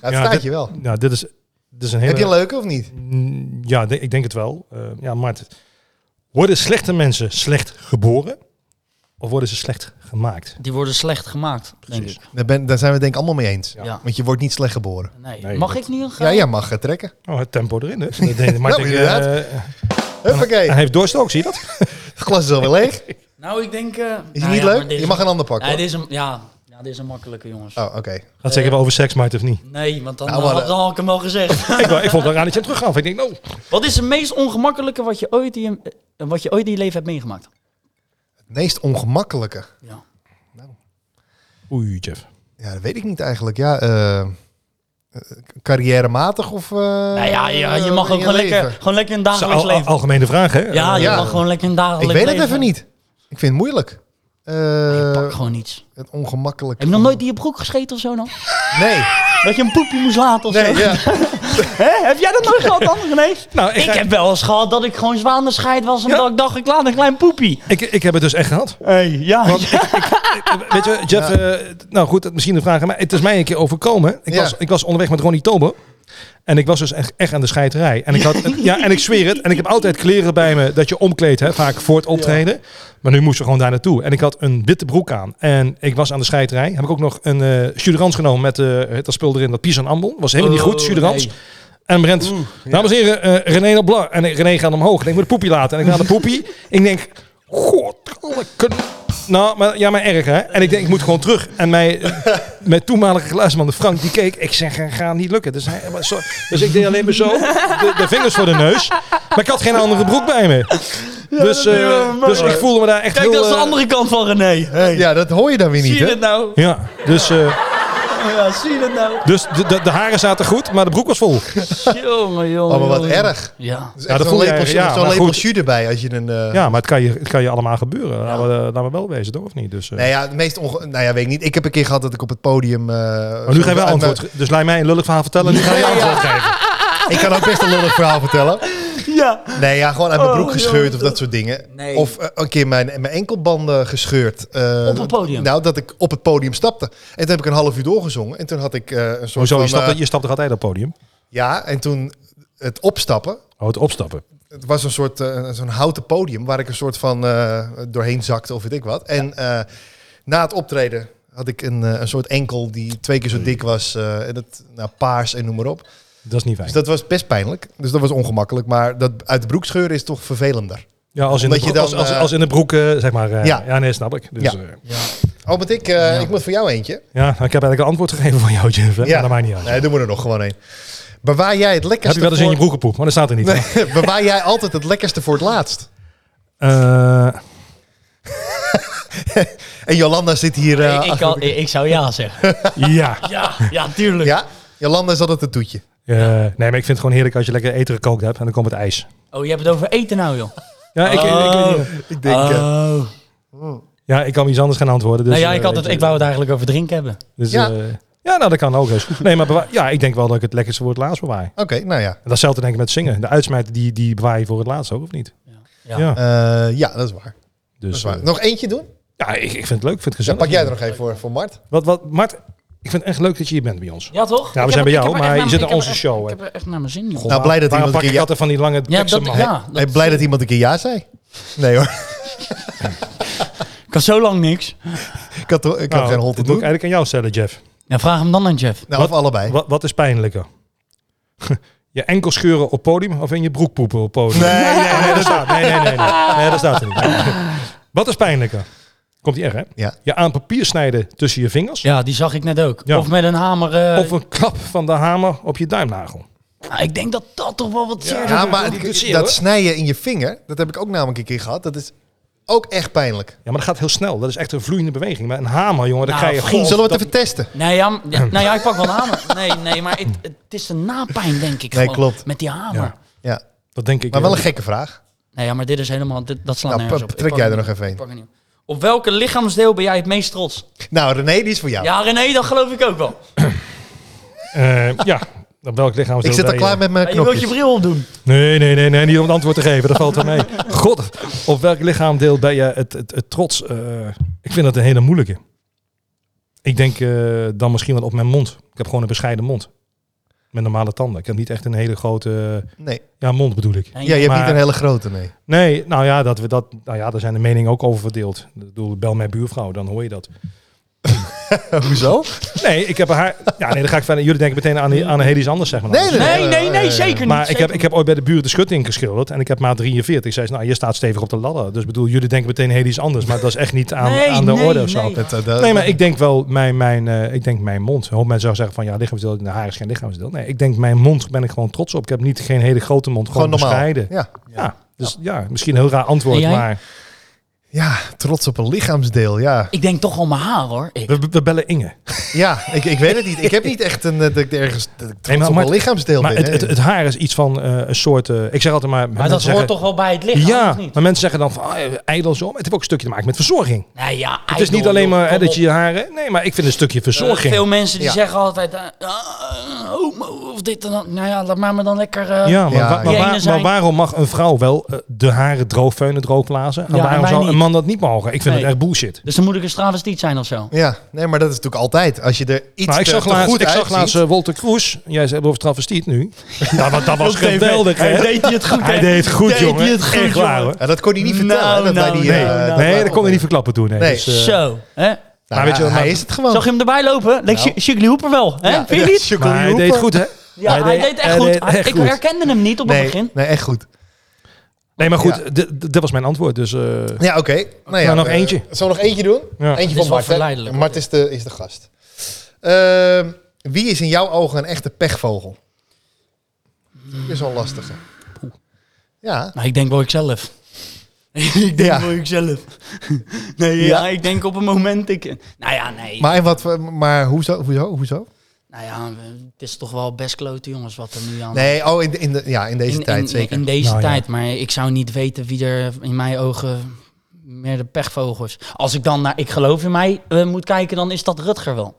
[SPEAKER 1] het
[SPEAKER 2] Ja,
[SPEAKER 1] staat
[SPEAKER 2] dit-
[SPEAKER 1] je wel.
[SPEAKER 2] nou, dit is, dit is een hele.
[SPEAKER 1] Heb je een leuke of niet?
[SPEAKER 2] Mm, Ja, de- ik denk het wel. Eh, ja, Mart. Worden slechte mensen slecht geboren? Of worden ze slecht gemaakt?
[SPEAKER 3] Die worden slecht gemaakt, denk
[SPEAKER 2] Precies.
[SPEAKER 3] ik.
[SPEAKER 1] Daar, ben, daar zijn we het denk ik allemaal mee eens.
[SPEAKER 2] Ja.
[SPEAKER 3] Ja.
[SPEAKER 1] Want je wordt niet slecht geboren.
[SPEAKER 3] Nee.
[SPEAKER 2] Nee,
[SPEAKER 3] Mag
[SPEAKER 2] dat-
[SPEAKER 3] ik nu een
[SPEAKER 1] Ja, jij mag eh, trekken.
[SPEAKER 2] Oh, het tempo erin. Hè? Dat deed Mart,
[SPEAKER 1] Nou,
[SPEAKER 2] ik, eh,
[SPEAKER 1] inderdaad.
[SPEAKER 2] hij
[SPEAKER 1] Huppakee,
[SPEAKER 2] heeft dorst ook, zie je dat?
[SPEAKER 1] het glas is alweer leeg.
[SPEAKER 3] Nou, ik denk... eh,
[SPEAKER 1] Is
[SPEAKER 3] nou
[SPEAKER 1] het niet
[SPEAKER 3] ja, maar
[SPEAKER 1] leuk?
[SPEAKER 3] dit
[SPEAKER 1] Je
[SPEAKER 3] is-
[SPEAKER 1] mag een ander pakken.
[SPEAKER 3] Ja,
[SPEAKER 1] hoor.
[SPEAKER 3] dit is een, ja, ja, dit is een makkelijke, jongens.
[SPEAKER 1] Oh, oké.
[SPEAKER 2] Dat zeggen we over seks, Mart, of niet?
[SPEAKER 3] Nee, want dan,
[SPEAKER 1] Nou,
[SPEAKER 3] eh,
[SPEAKER 1] maar,
[SPEAKER 3] had, dan had ik hem al gezegd.
[SPEAKER 2] ik, wou- ik vond het raar dat je hem teruggaf. Ik denk, nou,
[SPEAKER 3] wat is het meest ongemakkelijke wat je ooit in je, eh, wat je, ooit in je leven hebt meegemaakt?
[SPEAKER 1] Het meest ongemakkelijke.
[SPEAKER 3] Ja.
[SPEAKER 2] oei, Jeff.
[SPEAKER 1] Ja, dat weet ik niet eigenlijk. Ja, eh, eh, carrièrematig of... eh,
[SPEAKER 3] nou ja, ja, je mag
[SPEAKER 1] in
[SPEAKER 3] ook gewoon
[SPEAKER 1] leven?
[SPEAKER 3] lekker, gewoon lekker een
[SPEAKER 2] Dat is een
[SPEAKER 3] dagelijks
[SPEAKER 2] al- al-
[SPEAKER 3] leven.
[SPEAKER 2] algemene vraag, hè?
[SPEAKER 3] ja, je
[SPEAKER 1] ja.
[SPEAKER 3] mag gewoon lekker een
[SPEAKER 1] Ik
[SPEAKER 3] dagelijks
[SPEAKER 1] weet
[SPEAKER 3] leven.
[SPEAKER 1] het even niet. Ik vind het moeilijk. Eh,
[SPEAKER 3] Je pakt gewoon iets.
[SPEAKER 1] het ongemakkelijk.
[SPEAKER 3] Heb je nog nooit in je broek gescheten of zo dan?
[SPEAKER 1] Nee.
[SPEAKER 3] Dat je een poepje moest laten of
[SPEAKER 1] nee
[SPEAKER 3] zo?
[SPEAKER 1] ja.
[SPEAKER 3] Hè? Heb jij dat nooit gehad dan, René?
[SPEAKER 2] Nou, ik,
[SPEAKER 3] Ik
[SPEAKER 2] ga-
[SPEAKER 3] heb wel eens gehad dat ik gewoon zwanenscheid was omdat
[SPEAKER 2] Ja.
[SPEAKER 3] ik dacht ik laat een klein poepie.
[SPEAKER 2] ik, ik heb het dus echt gehad.
[SPEAKER 3] Hey, ja.
[SPEAKER 2] Want ik, ik- weet je, Jeff, eh, nou goed, dat misschien een vraag, maar het is mij een keer overkomen. Ik,
[SPEAKER 1] Ja.
[SPEAKER 2] was, ik was onderweg met Ronnie Tobo. En ik was dus echt, echt aan de scheiterij. En ik, had, ja, en ik zweer het. En ik heb altijd kleren bij me dat je omkleedt, hè, vaak voor het optreden. Maar nu moesten we gewoon daar naartoe. En ik had een witte broek aan. En ik was aan de scheiterij. Heb ik ook nog een eh Suderans genomen met eh dat spul erin, dat Pies en Ambon. Was helemaal niet goed, Suderans.
[SPEAKER 3] nee.
[SPEAKER 2] En Brent, dames en heren, eh, René op bla. En ik- René gaat omhoog. En ik moet de poepie laten. En ik laat de poepie. ik denk, god, alle kun- Nou, maar, ja, maar erg hè. En ik denk, ik moet gewoon terug. En mijn, eh, mijn toenmalige geluidsman, Frank, die keek. Ik zeg, eh, gaat niet lukken. Dus, hij, maar zo- dus ik deed alleen maar zo. De, de vingers voor de neus. Maar ik had geen andere broek bij me. dus,
[SPEAKER 3] dat is
[SPEAKER 2] eh,
[SPEAKER 3] wel mooi.
[SPEAKER 2] dus ik voelde me daar echt
[SPEAKER 3] Kijk,
[SPEAKER 2] heel...
[SPEAKER 3] dat is de
[SPEAKER 2] eh,
[SPEAKER 3] andere kant van René. Hey.
[SPEAKER 1] ja, dat hoor je dan weer
[SPEAKER 3] Zie
[SPEAKER 1] niet,
[SPEAKER 3] je
[SPEAKER 1] hè?
[SPEAKER 3] het nou?
[SPEAKER 2] Ja, dus, eh,
[SPEAKER 3] Ja, zie je het nou?
[SPEAKER 2] dus de, de, de haren zaten goed, maar de broek was vol.
[SPEAKER 3] Jongen, jongen.
[SPEAKER 1] Oh, maar wat
[SPEAKER 3] jongen.
[SPEAKER 1] erg.
[SPEAKER 3] Ja.
[SPEAKER 1] Dus
[SPEAKER 2] Ja, dat
[SPEAKER 1] zo'n
[SPEAKER 2] voel je
[SPEAKER 1] lepel,
[SPEAKER 2] erg, ja,
[SPEAKER 1] zo'n
[SPEAKER 2] maar
[SPEAKER 1] lepel
[SPEAKER 2] goed.
[SPEAKER 1] jus erbij als je een... eh,
[SPEAKER 2] Ja, maar het kan je, het kan je allemaal gebeuren. Laten, we, eh, laten we wel wezen, toch? Of niet? Dus, eh.
[SPEAKER 1] Nou ja, het meest onge... Nou ja, weet ik niet. Ik heb een keer gehad dat ik op het podium... eh,
[SPEAKER 2] Maar Oh, nu ga je wel
[SPEAKER 1] uit mijn-
[SPEAKER 2] antwoord. ge- Dus laat mij een lullig verhaal vertellen. Nu ga je antwoord geven.
[SPEAKER 1] Ik kan ook best een lullig verhaal vertellen.
[SPEAKER 3] Ja.
[SPEAKER 1] Nee, ja, gewoon uit mijn
[SPEAKER 3] Oh,
[SPEAKER 1] broek gescheurd
[SPEAKER 3] joh.
[SPEAKER 1] of dat soort dingen.
[SPEAKER 3] Nee.
[SPEAKER 1] Of eh, een keer mijn, mijn enkelbanden gescheurd. eh,
[SPEAKER 3] Op het podium?
[SPEAKER 1] Nou, dat ik op het podium stapte. En toen heb ik een half uur doorgezongen. En toen had ik eh, een soort
[SPEAKER 2] Hoezo? Je
[SPEAKER 1] van...
[SPEAKER 2] stapt,
[SPEAKER 1] eh,
[SPEAKER 2] je stapt er altijd op het podium.
[SPEAKER 1] ja, en toen het opstappen.
[SPEAKER 2] Oh, het opstappen.
[SPEAKER 1] Het was een soort eh, zo'n houten podium waar ik een soort van eh, doorheen zakte of weet ik wat. En eh, na het optreden had ik een, eh, een soort enkel die twee keer zo
[SPEAKER 2] Hmm.
[SPEAKER 1] dik was. eh, en dat, nou, paars en noem maar op.
[SPEAKER 2] Dat is niet fijn.
[SPEAKER 1] Dus dat was best pijnlijk. Dus dat was ongemakkelijk. Maar dat uit de broek scheuren is toch vervelender.
[SPEAKER 2] ja, als in, de
[SPEAKER 1] omdat
[SPEAKER 2] broek,
[SPEAKER 1] je dan,
[SPEAKER 2] als, als,
[SPEAKER 1] eh,
[SPEAKER 2] als in de broek, eh, zeg maar. eh,
[SPEAKER 1] Ja.
[SPEAKER 2] ja. nee, snap ik. Dus,
[SPEAKER 1] Ja.
[SPEAKER 2] ja.
[SPEAKER 3] Ja.
[SPEAKER 1] Oh, want ik, eh, ik moet voor jou eentje.
[SPEAKER 2] ja, nou, ik heb eigenlijk een antwoord gegeven voor jou, Jeff. hè,
[SPEAKER 1] Ja.
[SPEAKER 2] Maar dat maakt niet uit.
[SPEAKER 1] Nee, doen we er nog gewoon een. Bewaar jij het
[SPEAKER 2] Heb
[SPEAKER 1] lekkerste
[SPEAKER 2] je wel eens in je broek gepoept? Maar dat staat er niet.
[SPEAKER 1] voor... Nee, bewaar jij altijd het lekkerste voor het laatst?
[SPEAKER 2] Eh,
[SPEAKER 1] En Jolanda zit hier... eh,
[SPEAKER 3] ik, ik,
[SPEAKER 1] achter-
[SPEAKER 3] kan, ik, ik zou ja zeggen.
[SPEAKER 2] ja.
[SPEAKER 3] Ja, ja tuurlijk.
[SPEAKER 1] Ja? Jolanda is altijd een toetje.
[SPEAKER 2] Eh, nee, maar ik vind het gewoon heerlijk als je lekker eten gekookt hebt en dan komt het ijs.
[SPEAKER 3] Oh, je hebt het over eten nou, joh.
[SPEAKER 2] Ja, ik, ik- ik,
[SPEAKER 3] Oh.
[SPEAKER 1] Ik denk... eh,
[SPEAKER 3] Oh.
[SPEAKER 2] ja, ik kan iets anders gaan antwoorden. Dus,
[SPEAKER 3] nou ja,
[SPEAKER 2] eh,
[SPEAKER 3] ik, had
[SPEAKER 2] weet
[SPEAKER 3] het,
[SPEAKER 2] je.
[SPEAKER 3] ik wou het eigenlijk over drinken hebben.
[SPEAKER 2] Dus,
[SPEAKER 1] Ja.
[SPEAKER 2] ja. ja, nou dat kan ook. eens. Nee, maar bewaar- ja, ik denk wel dat ik het lekkerste voor het laatst bewaar.
[SPEAKER 1] Oké, nou ja.
[SPEAKER 2] En datzelfde denk ik met zingen. De uitsmijter die, die bewaar je voor het laatst ook, of niet?
[SPEAKER 3] Ja.
[SPEAKER 1] Eh, ja, dat is waar. Dat is
[SPEAKER 2] Dus,
[SPEAKER 1] waar.
[SPEAKER 2] eh,
[SPEAKER 1] Nog eentje doen?
[SPEAKER 2] ja, ik, ik vind het leuk. Ik vind het
[SPEAKER 1] Dan
[SPEAKER 2] gezellig.
[SPEAKER 1] pak jij er nog even voor, voor Mart.
[SPEAKER 2] Wat, wat, Mart, ik vind het echt leuk dat je hier bent bij ons.
[SPEAKER 3] Ja, toch?
[SPEAKER 2] Ja, we zijn
[SPEAKER 3] Ik heb-
[SPEAKER 2] bij jou,
[SPEAKER 3] ik heb er echt
[SPEAKER 2] maar
[SPEAKER 3] naar-
[SPEAKER 2] je zit
[SPEAKER 3] ik
[SPEAKER 2] aan
[SPEAKER 3] heb
[SPEAKER 2] onze
[SPEAKER 3] er-
[SPEAKER 2] show,
[SPEAKER 3] Ik
[SPEAKER 2] hè.
[SPEAKER 3] heb er echt naar mijn zin, joh.
[SPEAKER 1] Nou, blij dat
[SPEAKER 2] Waarom
[SPEAKER 1] iemand
[SPEAKER 2] pak
[SPEAKER 1] een
[SPEAKER 2] ik
[SPEAKER 1] keer
[SPEAKER 2] altijd van die lange
[SPEAKER 3] Ja,
[SPEAKER 2] teksten,
[SPEAKER 3] dat,
[SPEAKER 2] man?
[SPEAKER 3] ja,
[SPEAKER 1] Hey, blij dat iemand een keer ja zei. Nee hoor,
[SPEAKER 3] Ik kan zo lang niks.
[SPEAKER 1] ik had, toch- ik had
[SPEAKER 2] Nou,
[SPEAKER 1] geen hol te
[SPEAKER 2] dat moet
[SPEAKER 1] doen.
[SPEAKER 2] ik eigenlijk aan jou stellen, Jeff.
[SPEAKER 3] Ja, vraag hem dan aan Jeff.
[SPEAKER 1] Nou, of allebei.
[SPEAKER 2] Wat, wat is pijnlijker? je enkel scheuren op podium of in je broek poepen op podium?
[SPEAKER 1] Nee, nee,
[SPEAKER 2] nee, dat staat, nee, nee, nee, nee. Nee, dat staat er niet. wat is pijnlijker? Komt die erg, hè?
[SPEAKER 1] Ja.
[SPEAKER 2] Je aan papier snijden tussen je vingers
[SPEAKER 3] Ja, die zag ik net ook.
[SPEAKER 2] Ja.
[SPEAKER 3] Of met een hamer. eh,
[SPEAKER 2] of een klap van de hamer op je duimnagel?
[SPEAKER 3] nou, ik denk dat dat toch wel wat zeer
[SPEAKER 1] Ja,
[SPEAKER 3] doet.
[SPEAKER 1] maar
[SPEAKER 2] die doet zeer,
[SPEAKER 1] dat
[SPEAKER 2] hoor.
[SPEAKER 1] snijden in je vinger, dat heb ik ook namelijk een keer gehad. Dat is ook echt pijnlijk.
[SPEAKER 2] Ja, maar dat gaat heel snel. Dat is echt een vloeiende beweging. Maar een hamer, jongen, dan
[SPEAKER 3] Nou,
[SPEAKER 2] krijg je...
[SPEAKER 3] vriend,
[SPEAKER 2] golf-
[SPEAKER 1] Zullen we het
[SPEAKER 2] Oh, dat-
[SPEAKER 1] even testen?
[SPEAKER 3] Nee, ja, m- ja, nou ja, ik pak wel een hamer. Nee, nee maar het, het is een napijn, denk ik.
[SPEAKER 1] Nee,
[SPEAKER 3] gewoon,
[SPEAKER 1] klopt.
[SPEAKER 3] Met die hamer.
[SPEAKER 2] Ja.
[SPEAKER 1] Ja,
[SPEAKER 2] Dat denk ik.
[SPEAKER 1] maar wel een
[SPEAKER 2] eh,
[SPEAKER 1] gekke vraag.
[SPEAKER 3] Nee, ja, maar dit is helemaal... Dit, dat slaat
[SPEAKER 1] Nou,
[SPEAKER 3] nergens
[SPEAKER 1] pa-
[SPEAKER 3] op. Ik
[SPEAKER 1] trek
[SPEAKER 3] pak
[SPEAKER 1] jij
[SPEAKER 3] een-
[SPEAKER 1] er nog even een.
[SPEAKER 3] ik pak een nieuw. Op welke lichaamsdeel ben jij het meest trots?
[SPEAKER 1] Nou, René, die is voor jou.
[SPEAKER 3] Ja, René, dat geloof ik ook wel.
[SPEAKER 2] eh, ja, op welk lichaam...
[SPEAKER 1] ik zit al klaar met mijn
[SPEAKER 3] Maar Ah, je wilt
[SPEAKER 1] knopjes.
[SPEAKER 3] je bril opdoen.
[SPEAKER 2] Nee, nee, nee, nee, niet om het antwoord te geven. Dat valt wel mee. God, op welk lichaamdeel ben je het, het, het trots? Eh, ik vind dat een hele moeilijke. Ik denk eh, dan misschien wel op mijn mond. Ik heb gewoon een bescheiden mond. Met normale tanden. Ik heb niet echt een hele grote...
[SPEAKER 1] Nee,
[SPEAKER 2] Ja, mond bedoel ik.
[SPEAKER 1] ja, je hebt
[SPEAKER 2] Maar-
[SPEAKER 1] niet een hele grote, nee.
[SPEAKER 2] Nee, nou ja, dat we dat, nou ja, daar zijn de meningen ook over verdeeld. Ik bedoel, bel mijn buurvrouw, dan hoor je dat.
[SPEAKER 1] Hoezo?
[SPEAKER 2] Nee, ik heb haar... Ja, nee, dan ga ik verder... Jullie denken meteen aan, aan een heel iets anders, zeg maar.
[SPEAKER 1] Nee, nee,
[SPEAKER 3] Nee, nee, nee, zeker niet.
[SPEAKER 2] Maar ik
[SPEAKER 3] zeker
[SPEAKER 2] heb, ik heb ooit bij de buren de schutting geschilderd. En ik heb maat 43. Zij zei, nou, je staat stevig op de ladder. Dus bedoel, jullie denken meteen heel iets anders. Maar dat is echt niet aan,
[SPEAKER 3] Nee,
[SPEAKER 2] aan de
[SPEAKER 3] nee,
[SPEAKER 2] orde of zo. Nee.
[SPEAKER 3] nee.
[SPEAKER 1] Dat, eh, dat-
[SPEAKER 2] maar ik denk wel mijn, mijn, eh, ik denk mijn mond. Een hoop mensen zou zeggen van, ja, lichaamsdeel, de haar is geen lichaamsdeel. Nee, ik denk mijn mond ben ik gewoon trots op. Ik heb niet geen hele grote mond, gewoon,
[SPEAKER 1] gewoon normaal.
[SPEAKER 2] bescheiden.
[SPEAKER 1] Ja.
[SPEAKER 2] Ja. dus ja, misschien een heel raar antwoord,
[SPEAKER 3] En jij?
[SPEAKER 2] maar
[SPEAKER 1] ja, trots op een lichaamsdeel, ja.
[SPEAKER 3] Ik denk toch wel mijn haar, hoor. Ik.
[SPEAKER 2] we, we bellen Inge.
[SPEAKER 1] Ja, ik, ik weet het niet. Ik heb niet echt een, eh, dat ik ergens dat ik trots
[SPEAKER 2] maar
[SPEAKER 1] op
[SPEAKER 2] Mart-
[SPEAKER 1] een lichaamsdeel
[SPEAKER 2] Maar
[SPEAKER 1] ben.
[SPEAKER 2] het, het,
[SPEAKER 1] nee.
[SPEAKER 2] het haar is iets van eh, een soort, eh, ik zeg altijd maar...
[SPEAKER 3] Maar
[SPEAKER 2] mensen
[SPEAKER 3] dat
[SPEAKER 2] zeggen-
[SPEAKER 3] hoort toch wel bij het lichaam,
[SPEAKER 2] Ja,
[SPEAKER 3] of niet?
[SPEAKER 2] maar mensen zeggen dan van, ah, eh, ijdel zo. Maar het heeft ook een stukje te maken met verzorging.
[SPEAKER 3] Nee, ja,
[SPEAKER 2] Het is niet alleen maar hè, dat je je haren... Nee, maar ik vind een stukje verzorging.
[SPEAKER 3] Eh, veel mensen die
[SPEAKER 1] Ja.
[SPEAKER 3] zeggen altijd... eh, ah, homo of dit en dat. Nou ja, laat maar me dan lekker... eh,
[SPEAKER 2] ja, maar,
[SPEAKER 1] Ja,
[SPEAKER 2] wa-
[SPEAKER 1] ja.
[SPEAKER 2] maar,
[SPEAKER 3] Die
[SPEAKER 2] waar-
[SPEAKER 3] ene zijn-
[SPEAKER 2] maar waarom mag een vrouw wel eh, de haren droog veunen, droog blazen? En
[SPEAKER 3] Ja, en
[SPEAKER 2] waarom
[SPEAKER 3] wij
[SPEAKER 2] zou
[SPEAKER 3] niet?
[SPEAKER 2] een man dat niet mogen? Ik vind
[SPEAKER 3] Nee.
[SPEAKER 2] het echt bullshit.
[SPEAKER 3] Dus dan moet ik een travestiet zijn of zo.
[SPEAKER 1] Ja, nee, maar dat is natuurlijk altijd. Als je er iets eh,
[SPEAKER 2] Nou, ik
[SPEAKER 3] eh,
[SPEAKER 1] te,
[SPEAKER 2] zag
[SPEAKER 1] te
[SPEAKER 2] laatst,
[SPEAKER 1] goed
[SPEAKER 2] ik zag
[SPEAKER 1] uitziet-
[SPEAKER 2] laatst eh, Wolter Kroes. Jij zei over travestiet nu. Ja, want dat was
[SPEAKER 3] Op tv.
[SPEAKER 2] geweldig, hè?
[SPEAKER 3] Hij deed hij het goed,
[SPEAKER 2] Hij
[SPEAKER 3] hè?
[SPEAKER 2] deed het goed,
[SPEAKER 3] Deed hij
[SPEAKER 2] jongen.
[SPEAKER 3] het goed,
[SPEAKER 2] Echt waar,
[SPEAKER 3] jongen.
[SPEAKER 2] hoor.
[SPEAKER 1] Ja, dat kon hij niet vertellen.
[SPEAKER 3] Nou,
[SPEAKER 1] hè, dat
[SPEAKER 3] nou,
[SPEAKER 1] wij die,
[SPEAKER 2] Nee,
[SPEAKER 1] eh, dat
[SPEAKER 2] nee,
[SPEAKER 1] wij-
[SPEAKER 2] dat kon je niet verklappen toen. Nee.
[SPEAKER 1] Nee.
[SPEAKER 2] Dus, eh,
[SPEAKER 3] Zo, hè?
[SPEAKER 1] Nou,
[SPEAKER 2] Maar weet je
[SPEAKER 1] hij,
[SPEAKER 2] wat,
[SPEAKER 1] hij
[SPEAKER 2] maar-
[SPEAKER 1] is het gewoon.
[SPEAKER 3] Zag je hem erbij lopen? Leek
[SPEAKER 1] Nou.
[SPEAKER 3] Shug- Shugli Hooper wel, hè? Vind je niet?
[SPEAKER 2] maar hij deed het goed, hè?
[SPEAKER 3] Ja, hij, deed echt
[SPEAKER 2] hij
[SPEAKER 3] goed.
[SPEAKER 2] deed
[SPEAKER 3] Hij-
[SPEAKER 2] echt
[SPEAKER 3] ik
[SPEAKER 2] goed.
[SPEAKER 3] herkende hem niet op het
[SPEAKER 1] Nee,
[SPEAKER 3] begin.
[SPEAKER 1] nee, echt goed.
[SPEAKER 2] Nee, maar goed,
[SPEAKER 1] Ja.
[SPEAKER 2] d- d- dat was mijn antwoord. Dus, eh,
[SPEAKER 1] Ja, oké. Nou ja,
[SPEAKER 2] Nou, nog
[SPEAKER 1] eh,
[SPEAKER 2] eentje.
[SPEAKER 1] Zullen we nog eentje doen?
[SPEAKER 2] Ja.
[SPEAKER 1] Eentje
[SPEAKER 3] is
[SPEAKER 1] van
[SPEAKER 3] wel
[SPEAKER 1] Mart. hè?
[SPEAKER 3] verleidelijk,
[SPEAKER 1] Mart is de, is de gast. Ehm, wie is in jouw ogen een echte pechvogel? Dat is wel lastige. Ja,
[SPEAKER 3] Nou, ik denk wel ikzelf. ik denk
[SPEAKER 1] Ja.
[SPEAKER 3] wel ikzelf. nee, ja.
[SPEAKER 1] Ja.
[SPEAKER 3] ik denk op een moment... Ik, nou ja, nee.
[SPEAKER 1] maar, en wat, voor- maar hoezo? hoezo, hoezo?
[SPEAKER 3] nou ja, eh, het is toch wel best klote jongens wat er nu aan...
[SPEAKER 1] Nee, oh, in, de, in, de, ja, in deze
[SPEAKER 3] in,
[SPEAKER 1] tijd
[SPEAKER 3] in-
[SPEAKER 1] zeker.
[SPEAKER 3] In deze
[SPEAKER 2] Nou ja.
[SPEAKER 3] tijd, maar ik zou niet weten wie er in mijn ogen meer de pechvogels... Als ik dan naar Ik geloof in mij eh, moet kijken, dan is dat Rutger wel.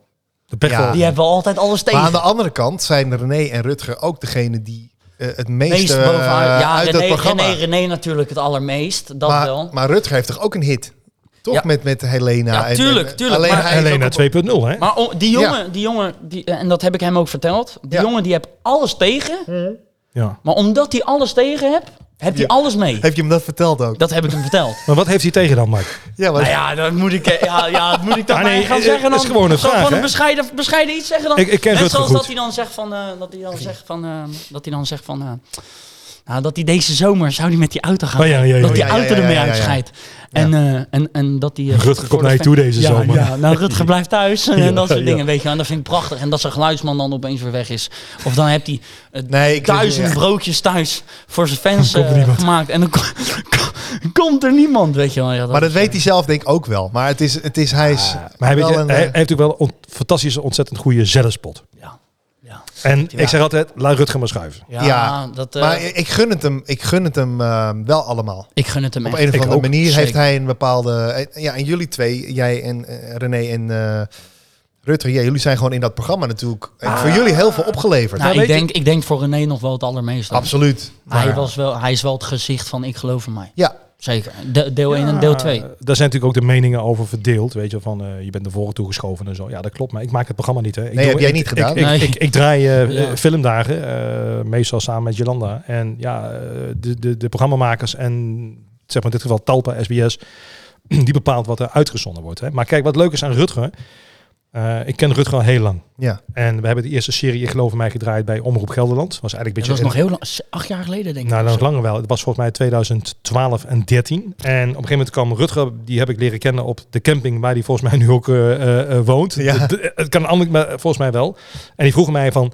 [SPEAKER 2] de pech
[SPEAKER 1] Ja.
[SPEAKER 2] wel.
[SPEAKER 3] Die hebben altijd alles tegen.
[SPEAKER 1] maar aan de andere kant zijn René en Rutger ook degene die eh, het meeste
[SPEAKER 3] Meest
[SPEAKER 1] eh,
[SPEAKER 3] bovenaan. Ja,
[SPEAKER 1] uit
[SPEAKER 3] René,
[SPEAKER 1] het programma...
[SPEAKER 3] René, René natuurlijk het allermeest. Dat
[SPEAKER 1] maar,
[SPEAKER 3] wel.
[SPEAKER 1] maar Rutger heeft toch ook een hit? Toch
[SPEAKER 3] Ja.
[SPEAKER 1] met, met Helena?
[SPEAKER 3] Ja,
[SPEAKER 1] en-
[SPEAKER 3] tuurlijk,
[SPEAKER 1] en-
[SPEAKER 3] tuurlijk,
[SPEAKER 1] Alleen
[SPEAKER 3] maar-
[SPEAKER 1] hij is
[SPEAKER 2] Helena
[SPEAKER 1] ook-
[SPEAKER 2] 2.0, hè?
[SPEAKER 3] Maar o- die jongen, die jongen die, eh, en dat heb ik hem ook verteld. Die
[SPEAKER 1] Ja.
[SPEAKER 3] jongen die hebt alles tegen.
[SPEAKER 2] Ja.
[SPEAKER 3] Maar omdat hij alles tegen hebt, heb je
[SPEAKER 1] Ja.
[SPEAKER 3] alles mee.
[SPEAKER 1] Heeft je hem dat verteld ook?
[SPEAKER 3] Dat heb ik hem verteld.
[SPEAKER 2] Maar wat heeft hij tegen dan, Mark?
[SPEAKER 1] Ja, maar
[SPEAKER 3] Nou ja, dat moet ik, eh, ja, ja, dat moet ik toch
[SPEAKER 2] Ah,
[SPEAKER 3] maar
[SPEAKER 2] nee,
[SPEAKER 3] gaan
[SPEAKER 2] eh,
[SPEAKER 3] zeggen dan.
[SPEAKER 2] dat is gewoon een
[SPEAKER 3] Zo
[SPEAKER 2] vraag,
[SPEAKER 3] Gewoon een
[SPEAKER 2] hè?
[SPEAKER 3] bescheiden, bescheiden iets zeggen dan.
[SPEAKER 2] Ik- ik ken
[SPEAKER 3] Net
[SPEAKER 2] Rutger
[SPEAKER 3] zoals
[SPEAKER 2] goed.
[SPEAKER 3] dat hij dan zegt van, eh, dat hij dan zegt van, eh, dat hij dan zegt van, eh, Nou, dat hij deze zomer zou die met die auto gaan.
[SPEAKER 2] Oh, ja, ja, ja,
[SPEAKER 3] dat die
[SPEAKER 1] ja.
[SPEAKER 3] auto
[SPEAKER 1] Ja, ja, ja,
[SPEAKER 3] ermee
[SPEAKER 1] ja, ja, ja.
[SPEAKER 3] uitscheidt. En, eh, en, en dat die... eh,
[SPEAKER 2] Rutger komt naar je toe deze
[SPEAKER 3] ja,
[SPEAKER 2] zomer.
[SPEAKER 3] Ja, nou, Rutger blijft thuis en,
[SPEAKER 2] Ja,
[SPEAKER 3] dat soort
[SPEAKER 2] ja.
[SPEAKER 3] dingen, weet je. wel. En dat vind ik prachtig. En dat zijn geluidsman dan opeens weer weg is. Of dan hebt hij eh,
[SPEAKER 1] Nee, ik-
[SPEAKER 3] duizend
[SPEAKER 1] ja.
[SPEAKER 3] broodjes thuis voor zijn fans
[SPEAKER 2] Dan komt er
[SPEAKER 3] eh,
[SPEAKER 2] niemand.
[SPEAKER 3] gemaakt. En dan ko- komt er niemand, weet je wel. Ja, dat
[SPEAKER 1] Maar dat
[SPEAKER 3] is, eh, Ah,
[SPEAKER 1] weet hij zelf denk ik ook wel. Maar het is, het is hij is...
[SPEAKER 2] Maar hij, weet
[SPEAKER 1] wel
[SPEAKER 2] je,
[SPEAKER 1] een,
[SPEAKER 2] hij
[SPEAKER 1] eh,
[SPEAKER 2] heeft natuurlijk wel een ont- fantastische, ontzettend goede zelfspot.
[SPEAKER 3] Ja, ja.
[SPEAKER 2] En
[SPEAKER 1] Ja.
[SPEAKER 2] ik zeg altijd, laat Rutger maar schuiven.
[SPEAKER 3] Ja,
[SPEAKER 1] Ja,
[SPEAKER 3] dat, eh,
[SPEAKER 1] maar ik ik gun het hem, ik gun het hem eh, wel allemaal.
[SPEAKER 3] ik gun het hem
[SPEAKER 1] Op
[SPEAKER 3] echt.
[SPEAKER 1] een of
[SPEAKER 2] Ik
[SPEAKER 1] andere
[SPEAKER 2] ook.
[SPEAKER 1] manier heeft
[SPEAKER 3] Zeker.
[SPEAKER 1] hij een bepaalde... eh, Ja, en jullie twee, jij en eh, René en eh Rutger, ja, jullie zijn gewoon in dat programma natuurlijk... eh, voor jullie heel veel opgeleverd.
[SPEAKER 3] Ah. Nou, ik,
[SPEAKER 2] weet je-
[SPEAKER 3] denk, ik denk voor René nog wel het allermeeste.
[SPEAKER 1] Absoluut.
[SPEAKER 3] Hij,
[SPEAKER 1] Maar-
[SPEAKER 3] was wel, hij is wel het gezicht van ik geloof in mij.
[SPEAKER 1] Ja,
[SPEAKER 3] Zeker. De- deel 1 en deel 2.
[SPEAKER 2] Daar zijn natuurlijk ook de meningen over verdeeld. Weet je, van eh, je bent naar voren toegeschoven en zo. Ja, dat klopt. Maar ik maak het programma niet. Hè. Ik
[SPEAKER 1] Nee, heb jij
[SPEAKER 2] ik-
[SPEAKER 1] niet
[SPEAKER 2] ik-
[SPEAKER 1] gedaan.
[SPEAKER 2] Ik, ik,
[SPEAKER 3] Nee.
[SPEAKER 2] ik- ik draai eh,
[SPEAKER 3] Ja.
[SPEAKER 2] eh, filmdagen, eh, meestal samen met Jolanda. En ja, eh, de, de, de programmamakers en zeg maar in dit geval Talpa, SBS, die bepaalt wat er uitgezonden wordt. Hè. Maar kijk, wat leuk is aan Rutger. eh, ik ken Rutger al heel lang.
[SPEAKER 1] ja.
[SPEAKER 2] En we hebben de eerste serie, ik geloof in mij, gedraaid bij Omroep Gelderland. Was eigenlijk een
[SPEAKER 3] Dat
[SPEAKER 2] beetje
[SPEAKER 3] was
[SPEAKER 2] een-
[SPEAKER 3] nog heel lang, acht jaar geleden denk ik.
[SPEAKER 2] nou, nog langer wel. Het was volgens mij 2012 en 13. En op een gegeven moment kwam Rutger, die heb ik leren kennen op de camping waar hij volgens mij nu ook eh, eh, eh, woont.
[SPEAKER 1] Ja.
[SPEAKER 2] Het- Het, het kan anders, maar volgens mij wel. En die vroeg mij van,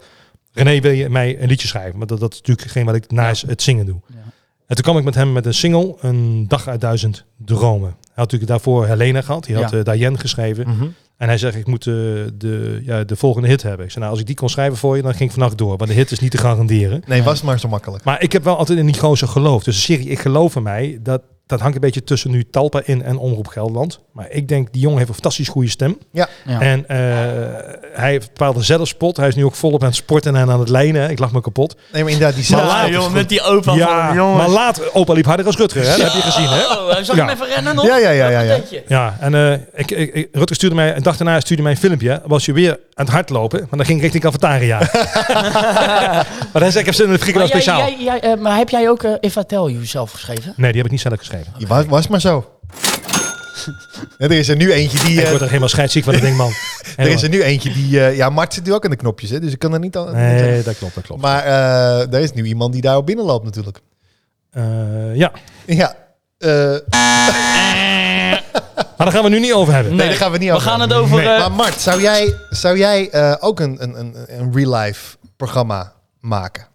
[SPEAKER 2] René, wil je mij een liedje schrijven? Maar dat, dat is natuurlijk geen wat ik naast het zingen doe.
[SPEAKER 3] Ja.
[SPEAKER 2] En toen kwam ik met hem met een single, Een Dag uit Duizend Dromen. Hij had natuurlijk daarvoor Helena gehad, die had
[SPEAKER 3] Ja.
[SPEAKER 2] eh, Diane geschreven.
[SPEAKER 1] Mm.
[SPEAKER 2] En hij zegt, ik moet eh, de, ja, de volgende hit hebben. Ik zei, nou, als ik die kon schrijven voor je, dan ging ik vannacht door. Want de hit is niet te garanderen.
[SPEAKER 1] Nee, was maar zo makkelijk.
[SPEAKER 2] Maar ik heb wel altijd in die gozer geloofd. Dus de serie Ik geloof in mij, dat, dat hangt een beetje tussen nu Talpa in en Omroep Gelderland. Maar ik denk, die jongen heeft een fantastisch goede stem.
[SPEAKER 3] Ja.
[SPEAKER 2] En eh, hij heeft een bepaalde zelfspot. Hij is nu ook volop aan het sporten en aan het lijnen. hè. Ik lach me kapot.
[SPEAKER 1] Nee, maar inderdaad, die zelf...
[SPEAKER 2] Maar later-
[SPEAKER 3] joh, met die opa
[SPEAKER 2] ja, maar later, opa liep harder als Rutger. Hè? Dat heb je gezien, hè?
[SPEAKER 3] Oh, hij zag
[SPEAKER 2] Ja.
[SPEAKER 3] hem even rennen nog.
[SPEAKER 1] Ja, ja, ja, ja, ja.
[SPEAKER 3] Patatje.
[SPEAKER 2] Ja, en eh, ik, ik, ik- Rutger stuurde mij, een dag daarna stuurde mij een filmpje. Was je weer aan het hardlopen, maar dan ging ik richting cafetaria. maar hij zei, ik heb zin in een frikandel
[SPEAKER 3] Maar, jij,
[SPEAKER 2] speciaal.
[SPEAKER 3] jij, jij, eh, maar heb jij ook eh, If I Tell You zelf geschreven?
[SPEAKER 2] Nee, die heb ik niet zelf geschreven.
[SPEAKER 1] Je was, was maar zo. Ja, er is er nu eentje die...
[SPEAKER 2] ik
[SPEAKER 1] eh,
[SPEAKER 2] word er helemaal scheidsziek van, ik denk man.
[SPEAKER 1] er is er nu eentje die... eh, ja, Mart zit nu ook aan de knopjes, hè, dus ik kan er niet aan...
[SPEAKER 2] Nee, dat klopt, dat klopt.
[SPEAKER 1] Maar eh, er is nu iemand die daarop binnenloopt natuurlijk.
[SPEAKER 2] Eh, ja, maar
[SPEAKER 1] Ja. eh,
[SPEAKER 2] daar gaan we nu niet over hebben.
[SPEAKER 1] Nee, daar gaan we niet
[SPEAKER 3] We
[SPEAKER 1] over
[SPEAKER 3] gaan het
[SPEAKER 1] hebben.
[SPEAKER 3] over...
[SPEAKER 2] Nee,
[SPEAKER 3] eh,
[SPEAKER 1] maar Mart, zou jij, zou jij eh, ook een, een, een, een real-life programma maken?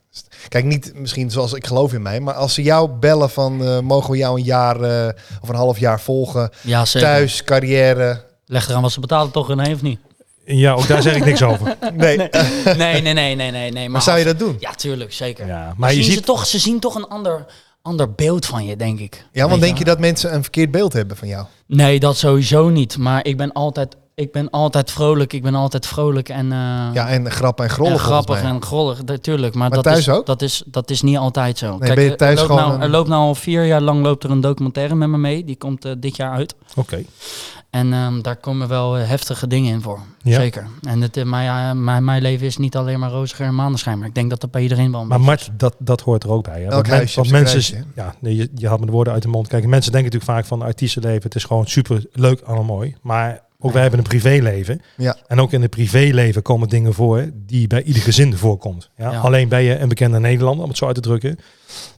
[SPEAKER 1] Kijk, niet misschien zoals ik geloof in mij, maar als ze jou bellen van eh, mogen we jou een jaar eh, of een half jaar volgen,
[SPEAKER 3] ja, zeker.
[SPEAKER 1] thuis, carrière.
[SPEAKER 3] Leg eraan wat ze betalen toch, René, of niet?
[SPEAKER 2] Ja, ook daar zeg ik niks over.
[SPEAKER 1] Nee, maar,
[SPEAKER 3] Eh, Nee, nee, nee, nee, nee. nee maar
[SPEAKER 1] zou je dat doen?
[SPEAKER 3] Ja, tuurlijk, zeker.
[SPEAKER 2] Ja, maar je
[SPEAKER 3] zien
[SPEAKER 2] ziet...
[SPEAKER 3] ze, toch, ze zien toch een ander, ander beeld van je, denk ik.
[SPEAKER 1] Ja, want
[SPEAKER 3] Weet
[SPEAKER 1] denk je dat mensen een verkeerd beeld hebben van jou?
[SPEAKER 3] Nee, dat sowieso niet. Maar ik ben altijd, ik ben altijd vrolijk. Ik ben altijd vrolijk en, eh,
[SPEAKER 1] Ja, en grappen en grollen
[SPEAKER 3] en
[SPEAKER 1] volgens
[SPEAKER 3] grappig
[SPEAKER 1] mij.
[SPEAKER 3] en grollig. Natuurlijk, maar,
[SPEAKER 1] Maar
[SPEAKER 3] dat,
[SPEAKER 1] thuis
[SPEAKER 3] is,
[SPEAKER 1] ook?
[SPEAKER 3] Dat, is, dat is niet altijd zo.
[SPEAKER 1] ben je
[SPEAKER 3] er-
[SPEAKER 1] thuis
[SPEAKER 3] er loopt
[SPEAKER 1] gewoon
[SPEAKER 3] nou,
[SPEAKER 1] een-
[SPEAKER 3] Er loopt nou al vier jaar lang loopt er een documentaire met me mee. Die komt eh, dit jaar uit.
[SPEAKER 2] Oké.
[SPEAKER 3] En ehm, daar komen wel eh, heftige dingen in voor.
[SPEAKER 2] Ja.
[SPEAKER 3] Zeker. En het, eh, mijn, eh, mijn, mijn leven is niet alleen maar roziger en maneschijn. Maar ik denk dat dat bij iedereen wel... een
[SPEAKER 2] Maar Mart, dat, dat hoort er ook bij. Hè?
[SPEAKER 1] Elk
[SPEAKER 2] men-
[SPEAKER 1] huisje heeft zijn
[SPEAKER 2] mensen, ja, nee, je, je haalt me de woorden uit de mond. Kijk, mensen denken natuurlijk vaak van artiestenleven. Het is gewoon super leuk, allemaal mooi. Maar ook wij hebben een privéleven.
[SPEAKER 1] Ja.
[SPEAKER 2] En ook in het privéleven komen dingen voor die bij ieder gezin voorkomt. Ja?
[SPEAKER 3] Ja.
[SPEAKER 2] Alleen ben je een bekende Nederlander, om het zo uit te drukken.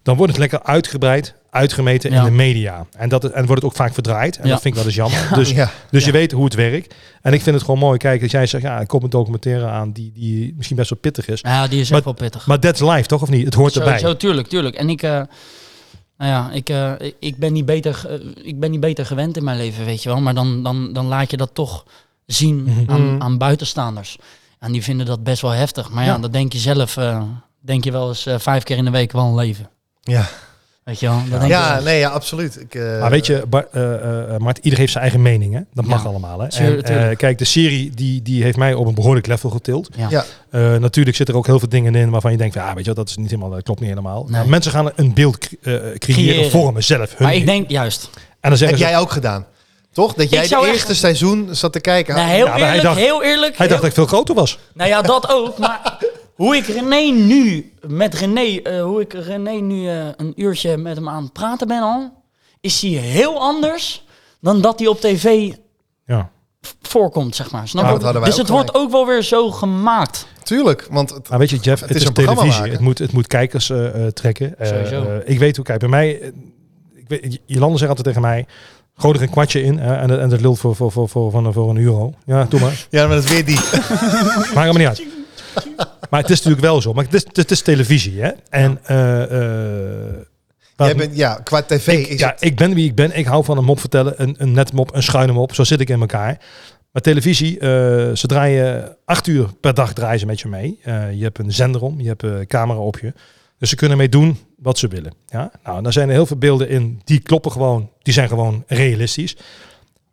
[SPEAKER 2] Dan wordt het lekker uitgebreid, uitgemeten
[SPEAKER 3] Ja.
[SPEAKER 2] in de media. En, dat, het- en wordt het ook vaak verdraaid. En
[SPEAKER 3] Ja.
[SPEAKER 2] dat vind ik wel eens jammer. Dus
[SPEAKER 1] ja.
[SPEAKER 2] Dus
[SPEAKER 3] Ja.
[SPEAKER 2] je weet hoe het werkt. En ik vind het gewoon mooi. Kijk, dat jij zegt, ja, er komt een documentaire aan die, die misschien best wel pittig is.
[SPEAKER 3] Ja, die is
[SPEAKER 2] Maar-
[SPEAKER 3] ook wel pittig.
[SPEAKER 2] Maar that's life, toch? Of niet? Het hoort erbij.
[SPEAKER 3] Zo, tuurlijk, tuurlijk. En ik, eh, nou ja, ik, eh, ik, ben niet beter, ge- eh, ik ben niet beter gewend in mijn leven, weet je wel. Maar dan, dan, dan laat je dat toch zien
[SPEAKER 2] Mhm.
[SPEAKER 1] Mhm.
[SPEAKER 3] aan, aan buitenstaanders. En die vinden dat best wel heftig. Maar ja,
[SPEAKER 2] Ja.
[SPEAKER 3] dan denk je zelf, eh, denk je wel eens eh, vijf keer in de week wel een leven.
[SPEAKER 1] Ja.
[SPEAKER 3] Weet je wel? Dan denk je,
[SPEAKER 1] ja,
[SPEAKER 3] wel eens,
[SPEAKER 1] nee, ja, absoluut. Ik, eh,
[SPEAKER 2] maar weet je, Bart, eh eh, Mart, iedereen heeft zijn eigen mening. Hè? Dat mag
[SPEAKER 3] Ja.
[SPEAKER 2] allemaal. Hè?
[SPEAKER 3] Tuur-
[SPEAKER 2] En, eh,
[SPEAKER 3] tuurlijk.
[SPEAKER 2] kijk, de serie die, die heeft mij op een behoorlijk level getild.
[SPEAKER 3] Ja.
[SPEAKER 1] Ja.
[SPEAKER 2] Eh, natuurlijk zit er ook heel veel dingen in waarvan je denkt, van, ja, weet je, wel, dat is niet helemaal, dat klopt niet helemaal.
[SPEAKER 3] Nee.
[SPEAKER 2] Maar mensen gaan een beeld cre- eh, creëren,
[SPEAKER 3] Creëren.
[SPEAKER 2] vormen zelf. Hun
[SPEAKER 3] Maar ik denk juist.
[SPEAKER 2] en dan
[SPEAKER 1] Heb
[SPEAKER 2] zeggen ze,
[SPEAKER 1] jij ook gedaan? Toch? Dat jij het
[SPEAKER 3] zou echt-
[SPEAKER 1] eerste seizoen zat te kijken.
[SPEAKER 3] Nou, heel,
[SPEAKER 2] Ja, maar hij
[SPEAKER 3] eerlijk,
[SPEAKER 2] dacht-
[SPEAKER 3] heel
[SPEAKER 2] hij
[SPEAKER 3] eerlijk, heel-
[SPEAKER 2] dacht dat ik veel groter was.
[SPEAKER 3] Nou ja, dat ook. Maar hoe ik René nu met René, eh, hoe ik René nu eh, een uurtje met hem aan het praten ben al, is hij heel anders dan dat hij op tv
[SPEAKER 2] Ja.
[SPEAKER 3] voorkomt, zeg maar. Snap
[SPEAKER 1] Ja,
[SPEAKER 3] je?
[SPEAKER 1] dat hadden wij
[SPEAKER 3] dus
[SPEAKER 1] ook
[SPEAKER 3] het wordt ook wel weer zo gemaakt.
[SPEAKER 1] tuurlijk. Want het,
[SPEAKER 2] Maar weet je, Jeff, het,
[SPEAKER 1] Het
[SPEAKER 2] is,
[SPEAKER 1] is een programma
[SPEAKER 2] televisie.
[SPEAKER 1] maken.
[SPEAKER 2] Het moet, het moet kijkers eh, eh, trekken. Eh,
[SPEAKER 3] Sowieso.
[SPEAKER 2] eh, ik weet hoe, kijk, bij mij, eh, ik weet, Jolande zegt altijd tegen mij, gooi er een kwartje in eh, en, en dat lult voor, voor, voor, voor, voor, voor een euro. Ja, doe maar.
[SPEAKER 1] ja, maar dat is weer die.
[SPEAKER 2] Maakt helemaal niet uit. Maar het is natuurlijk wel zo. Maar het is, het is televisie, hè? En eh, eh, wat-
[SPEAKER 1] Jij bent, ja, qua tv
[SPEAKER 2] ik,
[SPEAKER 1] is
[SPEAKER 2] ja,
[SPEAKER 1] het-
[SPEAKER 2] ik ben wie ik ben. Ik hou van een mop vertellen, een, een netmop, een schuine mop. Zo zit ik in elkaar. Maar televisie, eh, ze draaien acht uur per dag draaien ze met je mee. Eh, je hebt een zender om, je hebt een camera op je. Dus ze kunnen mee doen wat ze willen. Ja? Nou, en daar zijn er heel veel beelden in die kloppen gewoon. Die zijn gewoon realistisch.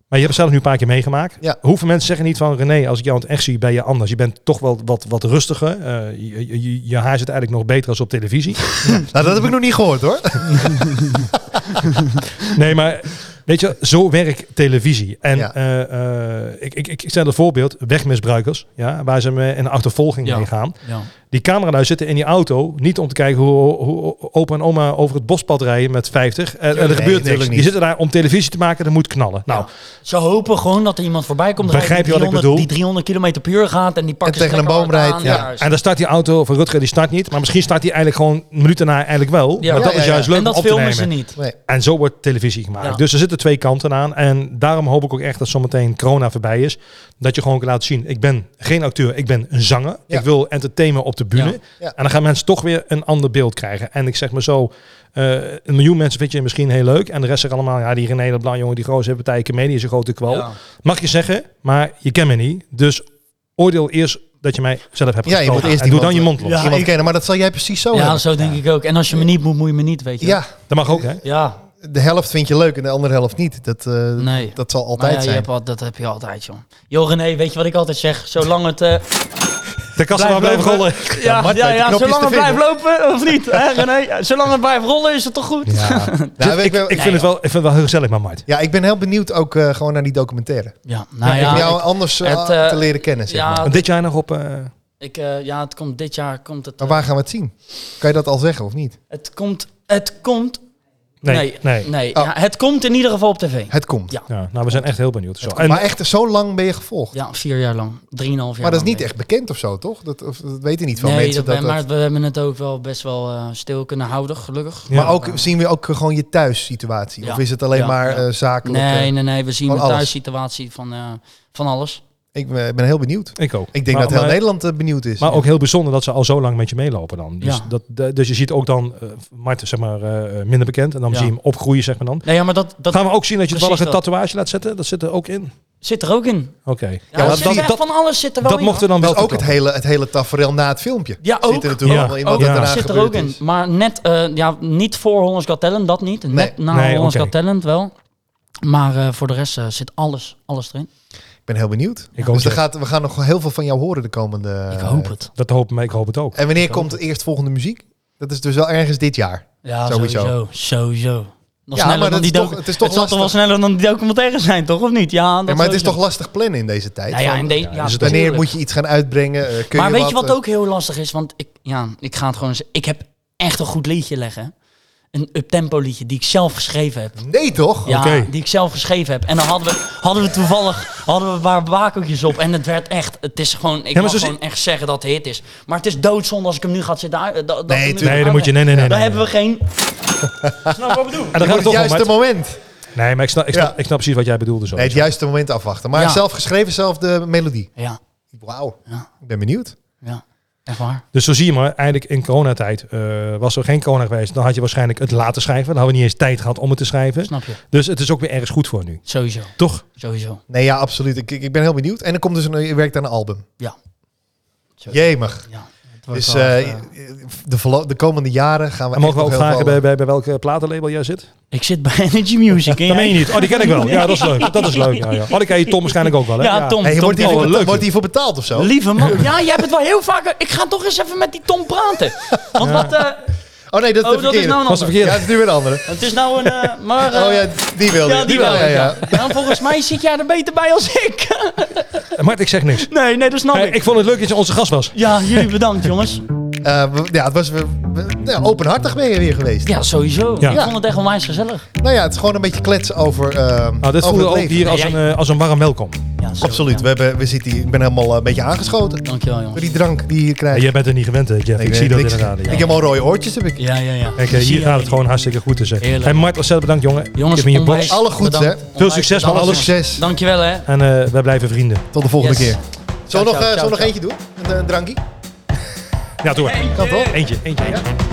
[SPEAKER 2] Maar je hebt het zelf nu een paar keer meegemaakt.
[SPEAKER 1] Ja.
[SPEAKER 2] Hoeveel mensen zeggen niet van René, als ik jou in het echt zie, ben je anders. Je bent toch wel wat, wat rustiger. Eh, je, je- je, je haar zit eigenlijk nog beter als op televisie.
[SPEAKER 1] Nou, dat heb ik nog niet gehoord hoor.
[SPEAKER 2] Nee, maar weet je, zo werkt televisie. En
[SPEAKER 1] Ja.
[SPEAKER 2] eh, eh, ik, ik, ik stel een voorbeeld, wegmisbruikers, ja, waar ze me in achtervolging
[SPEAKER 3] Ja.
[SPEAKER 2] mee gaan.
[SPEAKER 3] Ja.
[SPEAKER 2] Die cameralui zitten in die auto, niet om te kijken hoe, hoe opa en oma over het bospad rijden met 50. En, en er
[SPEAKER 1] Nee,
[SPEAKER 2] gebeurt
[SPEAKER 1] natuurlijk
[SPEAKER 2] niks. Die
[SPEAKER 1] niet.
[SPEAKER 2] zitten daar om televisie te maken, er moet knallen. Nou,
[SPEAKER 3] Ja. Ze hopen gewoon dat er iemand voorbij komt.
[SPEAKER 2] Begrijp
[SPEAKER 3] rijden
[SPEAKER 2] je wat ik
[SPEAKER 3] die 300
[SPEAKER 2] bedoel?
[SPEAKER 3] Die 300 kilometer per uur gaat en die pakt
[SPEAKER 1] En tegen een boom rijdt, ja.
[SPEAKER 2] en dan staat die auto van Rutger, die start niet. Maar misschien staat die eigenlijk gewoon een minuut daarna eigenlijk wel.
[SPEAKER 3] Ja.
[SPEAKER 2] maar dat
[SPEAKER 1] Ja,
[SPEAKER 2] is
[SPEAKER 1] ja,
[SPEAKER 2] juist leuk
[SPEAKER 3] en dat
[SPEAKER 2] om op te
[SPEAKER 3] filmen
[SPEAKER 2] nemen.
[SPEAKER 3] ze niet.
[SPEAKER 1] Nee.
[SPEAKER 2] En zo wordt televisie gemaakt.
[SPEAKER 3] Ja.
[SPEAKER 2] Dus er zitten twee kanten aan. En daarom hoop ik ook echt dat zometeen corona voorbij is. Dat je gewoon kan laten zien. Ik ben geen acteur, ik ben een zanger.
[SPEAKER 1] Ja.
[SPEAKER 2] Ik wil entertainen op de bühne.
[SPEAKER 3] Ja.
[SPEAKER 1] Ja.
[SPEAKER 2] En dan gaan mensen toch weer een ander beeld krijgen. En ik zeg maar zo, eh, een miljoen mensen vind je misschien heel leuk. En de rest zeggen allemaal, ja die René Leblanc, jongen, die grote partij, comedie is een grote kwal.
[SPEAKER 3] Ja.
[SPEAKER 2] Mag je zeggen, maar je kent me niet. Dus oordeel eerst dat je mij zelf hebt
[SPEAKER 1] Ja, je
[SPEAKER 2] gesproken.
[SPEAKER 1] moet eerst
[SPEAKER 2] en doe dan je
[SPEAKER 1] iemand- eh,
[SPEAKER 2] mond los.
[SPEAKER 3] Ja.
[SPEAKER 1] Iemand
[SPEAKER 3] ik-
[SPEAKER 1] kennen, maar dat zal jij precies zo
[SPEAKER 3] Ja,
[SPEAKER 1] hebben.
[SPEAKER 3] zo denk ik ook. En als je me niet moet, moet je me niet, weet je.
[SPEAKER 1] Ja,
[SPEAKER 2] Dat mag ook, hè?
[SPEAKER 3] Ja,
[SPEAKER 1] de helft vind je leuk en de andere helft niet. Dat, eh,
[SPEAKER 3] nee.
[SPEAKER 1] dat zal
[SPEAKER 3] Maar
[SPEAKER 1] altijd
[SPEAKER 3] ja, je
[SPEAKER 1] zijn.
[SPEAKER 3] hebt al, dat heb je altijd, joh. Joh, René, weet je wat ik altijd zeg? Zolang het... eh,
[SPEAKER 2] De kasten maar blijven rollen.
[SPEAKER 3] ja,
[SPEAKER 1] Mart
[SPEAKER 3] ja,
[SPEAKER 1] weet de
[SPEAKER 3] ja,
[SPEAKER 1] knopjes
[SPEAKER 3] zolang
[SPEAKER 1] te
[SPEAKER 3] het blijft lopen, of niet? Hè, René? Zolang het blijft rollen, is het toch goed? Ja.
[SPEAKER 1] Nou, ik, ben-
[SPEAKER 2] Dus Ik vind, het wel, ik vind het wel heel gezellig, maar Mart.
[SPEAKER 1] ja, ik ben heel benieuwd ook eh, gewoon naar die documentaire.
[SPEAKER 3] nou
[SPEAKER 1] om
[SPEAKER 3] ja.
[SPEAKER 1] jou
[SPEAKER 3] ik-
[SPEAKER 1] anders eh,
[SPEAKER 3] het, eh,
[SPEAKER 1] te leren kennen. Zeg maar.
[SPEAKER 3] ja,
[SPEAKER 2] En dit jaar nog op... eh,
[SPEAKER 3] ik, eh, ja, het komt dit jaar komt het...
[SPEAKER 1] maar
[SPEAKER 3] eh,
[SPEAKER 1] waar gaan we het zien? Kan je dat al zeggen of niet?
[SPEAKER 3] het komt... Het komt...
[SPEAKER 2] Nee,
[SPEAKER 3] Nee.
[SPEAKER 2] nee.
[SPEAKER 3] Nee,
[SPEAKER 1] Oh.
[SPEAKER 3] ja, het komt in ieder geval op tv.
[SPEAKER 1] Het komt.
[SPEAKER 3] Ja.
[SPEAKER 2] Ja, nou, we zijn echt heel benieuwd. Zo. En,
[SPEAKER 1] maar echt, zo lang ben je gevolgd.
[SPEAKER 3] Ja, vier jaar lang. Drieënhalf jaar
[SPEAKER 1] maar dat is
[SPEAKER 3] lang,
[SPEAKER 1] niet echt bekend of zo, toch? Dat, of, dat weten niet veel
[SPEAKER 3] nee,
[SPEAKER 1] mensen.
[SPEAKER 3] dat
[SPEAKER 1] Dat,
[SPEAKER 3] ben- maar
[SPEAKER 1] dat-
[SPEAKER 3] we hebben het ook wel best wel eh, stil kunnen houden, gelukkig.
[SPEAKER 2] Ja.
[SPEAKER 1] maar ook zien we ook gewoon je thuissituatie?
[SPEAKER 3] Ja.
[SPEAKER 1] Of is het alleen
[SPEAKER 3] Ja,
[SPEAKER 1] maar
[SPEAKER 3] ja.
[SPEAKER 1] eh, zakelijk?
[SPEAKER 3] Nee,
[SPEAKER 1] eh?
[SPEAKER 3] nee, nee. We zien de
[SPEAKER 1] van alles.
[SPEAKER 3] thuissituatie van, eh, van alles.
[SPEAKER 1] ik ben, ben heel benieuwd.
[SPEAKER 2] ik ook.
[SPEAKER 1] Ik denk
[SPEAKER 2] Maar-
[SPEAKER 1] dat heel
[SPEAKER 2] maar,
[SPEAKER 1] Nederland eh, benieuwd is.
[SPEAKER 2] Maar ook heel bijzonder dat ze al zo lang met je meelopen dan. Dus,
[SPEAKER 3] Ja.
[SPEAKER 2] dat, de- dus je ziet ook dan eh Marten zeg maar, eh, minder bekend. En dan
[SPEAKER 3] Ja.
[SPEAKER 2] zie je hem opgroeien, zeg maar dan.
[SPEAKER 3] Nee, ja, maar dat, dat
[SPEAKER 2] Gaan we ook zien dat je
[SPEAKER 3] Precies
[SPEAKER 2] toevallig een
[SPEAKER 3] dat.
[SPEAKER 2] tatoeage laat zetten? Dat zit er ook in.
[SPEAKER 3] zit er ook in.
[SPEAKER 2] Oké.
[SPEAKER 3] Ja, er
[SPEAKER 1] dat-
[SPEAKER 3] zit echt
[SPEAKER 2] dat,
[SPEAKER 3] van alles zit er wel
[SPEAKER 2] dat
[SPEAKER 3] in.
[SPEAKER 2] mocht er dan wel
[SPEAKER 1] dus ook het
[SPEAKER 2] verklappen.
[SPEAKER 1] hele, het hele tafereel na het filmpje.
[SPEAKER 3] Ja, ook.
[SPEAKER 1] Zit er natuurlijk
[SPEAKER 2] Ja.
[SPEAKER 1] allemaal in wat
[SPEAKER 2] Ook.
[SPEAKER 1] er
[SPEAKER 2] Ja.
[SPEAKER 1] daarna
[SPEAKER 3] zit er
[SPEAKER 1] gebeurd
[SPEAKER 3] ook in.
[SPEAKER 1] is.
[SPEAKER 3] Maar net, eh, ja, niet voor Hollands Got Talent, dat niet. Net na
[SPEAKER 2] Nee,
[SPEAKER 3] Hollands
[SPEAKER 2] oké.
[SPEAKER 3] Got Talent wel. Maar eh, voor de rest eh, zit alles, alles erin.
[SPEAKER 1] Ik ben heel benieuwd.
[SPEAKER 2] Ik hoop
[SPEAKER 1] Dus er
[SPEAKER 2] het.
[SPEAKER 1] gaat, we gaan nog heel veel van jou horen de komende... eh,
[SPEAKER 3] ik hoop het.
[SPEAKER 2] Dat hoop, maar ik hoop het ook.
[SPEAKER 1] En wanneer komt de eerstvolgende muziek? Dat is dus wel ergens dit jaar.
[SPEAKER 3] Ja,
[SPEAKER 1] Sowieso.
[SPEAKER 3] sowieso. Sowieso. Nog
[SPEAKER 1] Ja,
[SPEAKER 3] sneller
[SPEAKER 1] maar
[SPEAKER 3] dan
[SPEAKER 1] dat
[SPEAKER 3] die
[SPEAKER 1] is toch-
[SPEAKER 3] docu-
[SPEAKER 1] het is toch
[SPEAKER 3] zal toch wel
[SPEAKER 1] lastig.
[SPEAKER 3] sneller dan die documentaire zijn, toch? Of niet? Ja, dat
[SPEAKER 1] Ja, maar het is
[SPEAKER 3] sowieso.
[SPEAKER 1] toch lastig plannen in deze tijd?
[SPEAKER 3] Ja, ja,
[SPEAKER 1] Van, dus
[SPEAKER 3] in de,
[SPEAKER 2] Ja,
[SPEAKER 3] ja,
[SPEAKER 2] is het
[SPEAKER 1] wanneer
[SPEAKER 3] tuurlijk.
[SPEAKER 1] moet je iets gaan uitbrengen? Eh, kun
[SPEAKER 3] maar
[SPEAKER 1] je
[SPEAKER 3] weet je wat
[SPEAKER 1] eh,
[SPEAKER 3] ook heel lastig is? Want ik, ja, ik ga het gewoon eens... Ik heb echt een goed liedje leggen. Een uptempo liedje die ik zelf geschreven heb.
[SPEAKER 1] Nee, toch?
[SPEAKER 3] Ja,
[SPEAKER 2] Oké.
[SPEAKER 3] die ik zelf geschreven heb. En dan hadden we, hadden we toevallig hadden we waar bakeltjes op. En het werd echt... Het is gewoon... Ik
[SPEAKER 2] maar
[SPEAKER 3] mag
[SPEAKER 2] zo zie-
[SPEAKER 3] gewoon echt zeggen dat het hit is. Maar het is doodzonde als ik hem nu ga zitten... uit- dat- dat
[SPEAKER 1] Nee,
[SPEAKER 3] ik hem nu
[SPEAKER 1] tuurlijk.
[SPEAKER 3] ga
[SPEAKER 2] Nee, dan moet je... Nee, nee,
[SPEAKER 3] uitleggen.
[SPEAKER 2] nee.
[SPEAKER 3] Daar
[SPEAKER 2] nee,
[SPEAKER 3] hebben we geen... Snap je wat ik bedoel?
[SPEAKER 2] En dan
[SPEAKER 1] Voor
[SPEAKER 2] gaat het
[SPEAKER 1] het
[SPEAKER 2] toch om,
[SPEAKER 1] juiste
[SPEAKER 2] Mart.
[SPEAKER 1] moment.
[SPEAKER 2] Nee, maar ik snap, ik, snap,
[SPEAKER 1] Ja.
[SPEAKER 2] ik snap precies wat jij bedoelde. Zo.
[SPEAKER 1] Nee, het juiste moment afwachten. Maar
[SPEAKER 3] Ja.
[SPEAKER 1] zelf geschreven, zelf de melodie.
[SPEAKER 3] Ja,
[SPEAKER 1] Wauw.
[SPEAKER 3] Ja.
[SPEAKER 1] Ik ben benieuwd.
[SPEAKER 3] ja. Echt waar.
[SPEAKER 2] Dus zo zie je maar, eigenlijk in coronatijd eh, was er geen corona geweest. Dan had je waarschijnlijk het laten schrijven. Dan hadden we niet eens tijd gehad om het te schrijven.
[SPEAKER 3] Snap je?
[SPEAKER 2] Dus het is ook weer ergens goed voor nu.
[SPEAKER 3] Sowieso.
[SPEAKER 2] Toch?
[SPEAKER 3] Sowieso.
[SPEAKER 1] Nee, ja, absoluut. Ik, ik ik ben heel benieuwd. En er komt dus een, je werkt aan een album.
[SPEAKER 3] Ja.
[SPEAKER 1] Jemig.
[SPEAKER 3] Ja. het wordt
[SPEAKER 1] Dus
[SPEAKER 3] wel echt,
[SPEAKER 1] eh,
[SPEAKER 3] eh,
[SPEAKER 1] de, verlo- de komende jaren gaan we.
[SPEAKER 2] En mogen we
[SPEAKER 1] echt nog
[SPEAKER 2] ook
[SPEAKER 1] heel
[SPEAKER 2] vragen bij,
[SPEAKER 1] veel- eh,
[SPEAKER 2] bij, bij welke platenlabel jij zit?
[SPEAKER 3] Ik zit bij Energy Music. en
[SPEAKER 2] Dat meen
[SPEAKER 3] jij-
[SPEAKER 2] je niet. Oh, die ken ik wel. Ja, dat is leuk. Dat is leuk. Ja, ja. Oh, die ken je Tom waarschijnlijk ook wel. Hè?
[SPEAKER 3] Ja, Tom.
[SPEAKER 1] eh, Hey, wordt,
[SPEAKER 2] Oh,
[SPEAKER 1] hiervoor
[SPEAKER 2] leuk.
[SPEAKER 1] betaald, wordt hiervoor betaald of zo?
[SPEAKER 3] Lieve man. Ja, jij hebt het wel heel vaak. Ik ga toch eens even met die Tom praten. Want wat. eh,
[SPEAKER 1] Oh nee, dat is de
[SPEAKER 3] oh, dat is
[SPEAKER 1] verkeerde.
[SPEAKER 3] nou een
[SPEAKER 2] Was de
[SPEAKER 3] ander.
[SPEAKER 1] ja,
[SPEAKER 2] verkeerde.
[SPEAKER 1] dat is nu weer een andere.
[SPEAKER 3] Het is nou een. eh, maar. eh,
[SPEAKER 1] Oh ja, die wilde.
[SPEAKER 3] ja, die
[SPEAKER 1] wil
[SPEAKER 3] wel.
[SPEAKER 1] ja,
[SPEAKER 3] Ja,
[SPEAKER 1] ja.
[SPEAKER 3] Nou, volgens mij zit jij er beter bij als ik.
[SPEAKER 2] Mart, ik zeg niks.
[SPEAKER 3] Nee, nee, dat snap
[SPEAKER 2] Eh,
[SPEAKER 3] ik.
[SPEAKER 2] ik vond het leuk dat je onze gast was.
[SPEAKER 3] Ja, jullie bedankt, jongens.
[SPEAKER 1] Eh, we- ja, het was we, we- ja, openhartig ben je weer geweest.
[SPEAKER 3] Ja, sowieso.
[SPEAKER 2] Ja.
[SPEAKER 3] Ik vond het echt onwijs gezellig.
[SPEAKER 1] Nou ja, het is gewoon een beetje kletsen over. eh
[SPEAKER 2] Nou, dit
[SPEAKER 1] over
[SPEAKER 2] voelde
[SPEAKER 1] het
[SPEAKER 2] ook
[SPEAKER 1] leven.
[SPEAKER 2] hier als
[SPEAKER 3] Nee,
[SPEAKER 2] een,
[SPEAKER 3] jij-
[SPEAKER 2] eh, als een warm welkom.
[SPEAKER 3] Ja, zo,
[SPEAKER 1] Absoluut. We
[SPEAKER 3] ja.
[SPEAKER 1] hebben, we zitten hier, ik ben helemaal eh, een beetje aangeschoten
[SPEAKER 3] Dankjewel,
[SPEAKER 1] door
[SPEAKER 3] jongens.
[SPEAKER 1] die drank die je hier
[SPEAKER 2] Ja,
[SPEAKER 1] krijgt.
[SPEAKER 2] jij bent er niet gewend, hè, Jeff.
[SPEAKER 1] Nee,
[SPEAKER 2] ik
[SPEAKER 1] weet
[SPEAKER 2] zie dat
[SPEAKER 1] niks.
[SPEAKER 2] inderdaad.
[SPEAKER 1] Ik
[SPEAKER 2] Ja.
[SPEAKER 1] heb allemaal rode oortjes. Heb ik.
[SPEAKER 3] Ja, ja, ja.
[SPEAKER 2] Kijk, eh,
[SPEAKER 3] Zie
[SPEAKER 2] hier
[SPEAKER 3] je.
[SPEAKER 2] gaat het gewoon hartstikke goed te zeggen.
[SPEAKER 3] Heerlijk.
[SPEAKER 2] Hey, Mart, ontzettend bedankt, jongen.
[SPEAKER 3] Jongens,
[SPEAKER 2] ik ben je
[SPEAKER 3] onwijs
[SPEAKER 2] box.
[SPEAKER 1] Alle goeds,
[SPEAKER 3] bedankt.
[SPEAKER 1] hè?
[SPEAKER 2] Veel succes met
[SPEAKER 3] bedankt,
[SPEAKER 1] Alle
[SPEAKER 2] alles.
[SPEAKER 3] jongens.
[SPEAKER 1] succes.
[SPEAKER 3] Dankjewel, hè.
[SPEAKER 2] En eh, wij blijven vrienden.
[SPEAKER 1] Tot de volgende
[SPEAKER 3] Yes.
[SPEAKER 1] keer. Zullen we nog,
[SPEAKER 3] ciao,
[SPEAKER 1] eh, zullen we nog
[SPEAKER 3] ciao.
[SPEAKER 1] eentje doen? Een, een drankje?
[SPEAKER 2] Ja, doe maar.
[SPEAKER 1] Kan toch?
[SPEAKER 2] Eentje, eentje, eentje.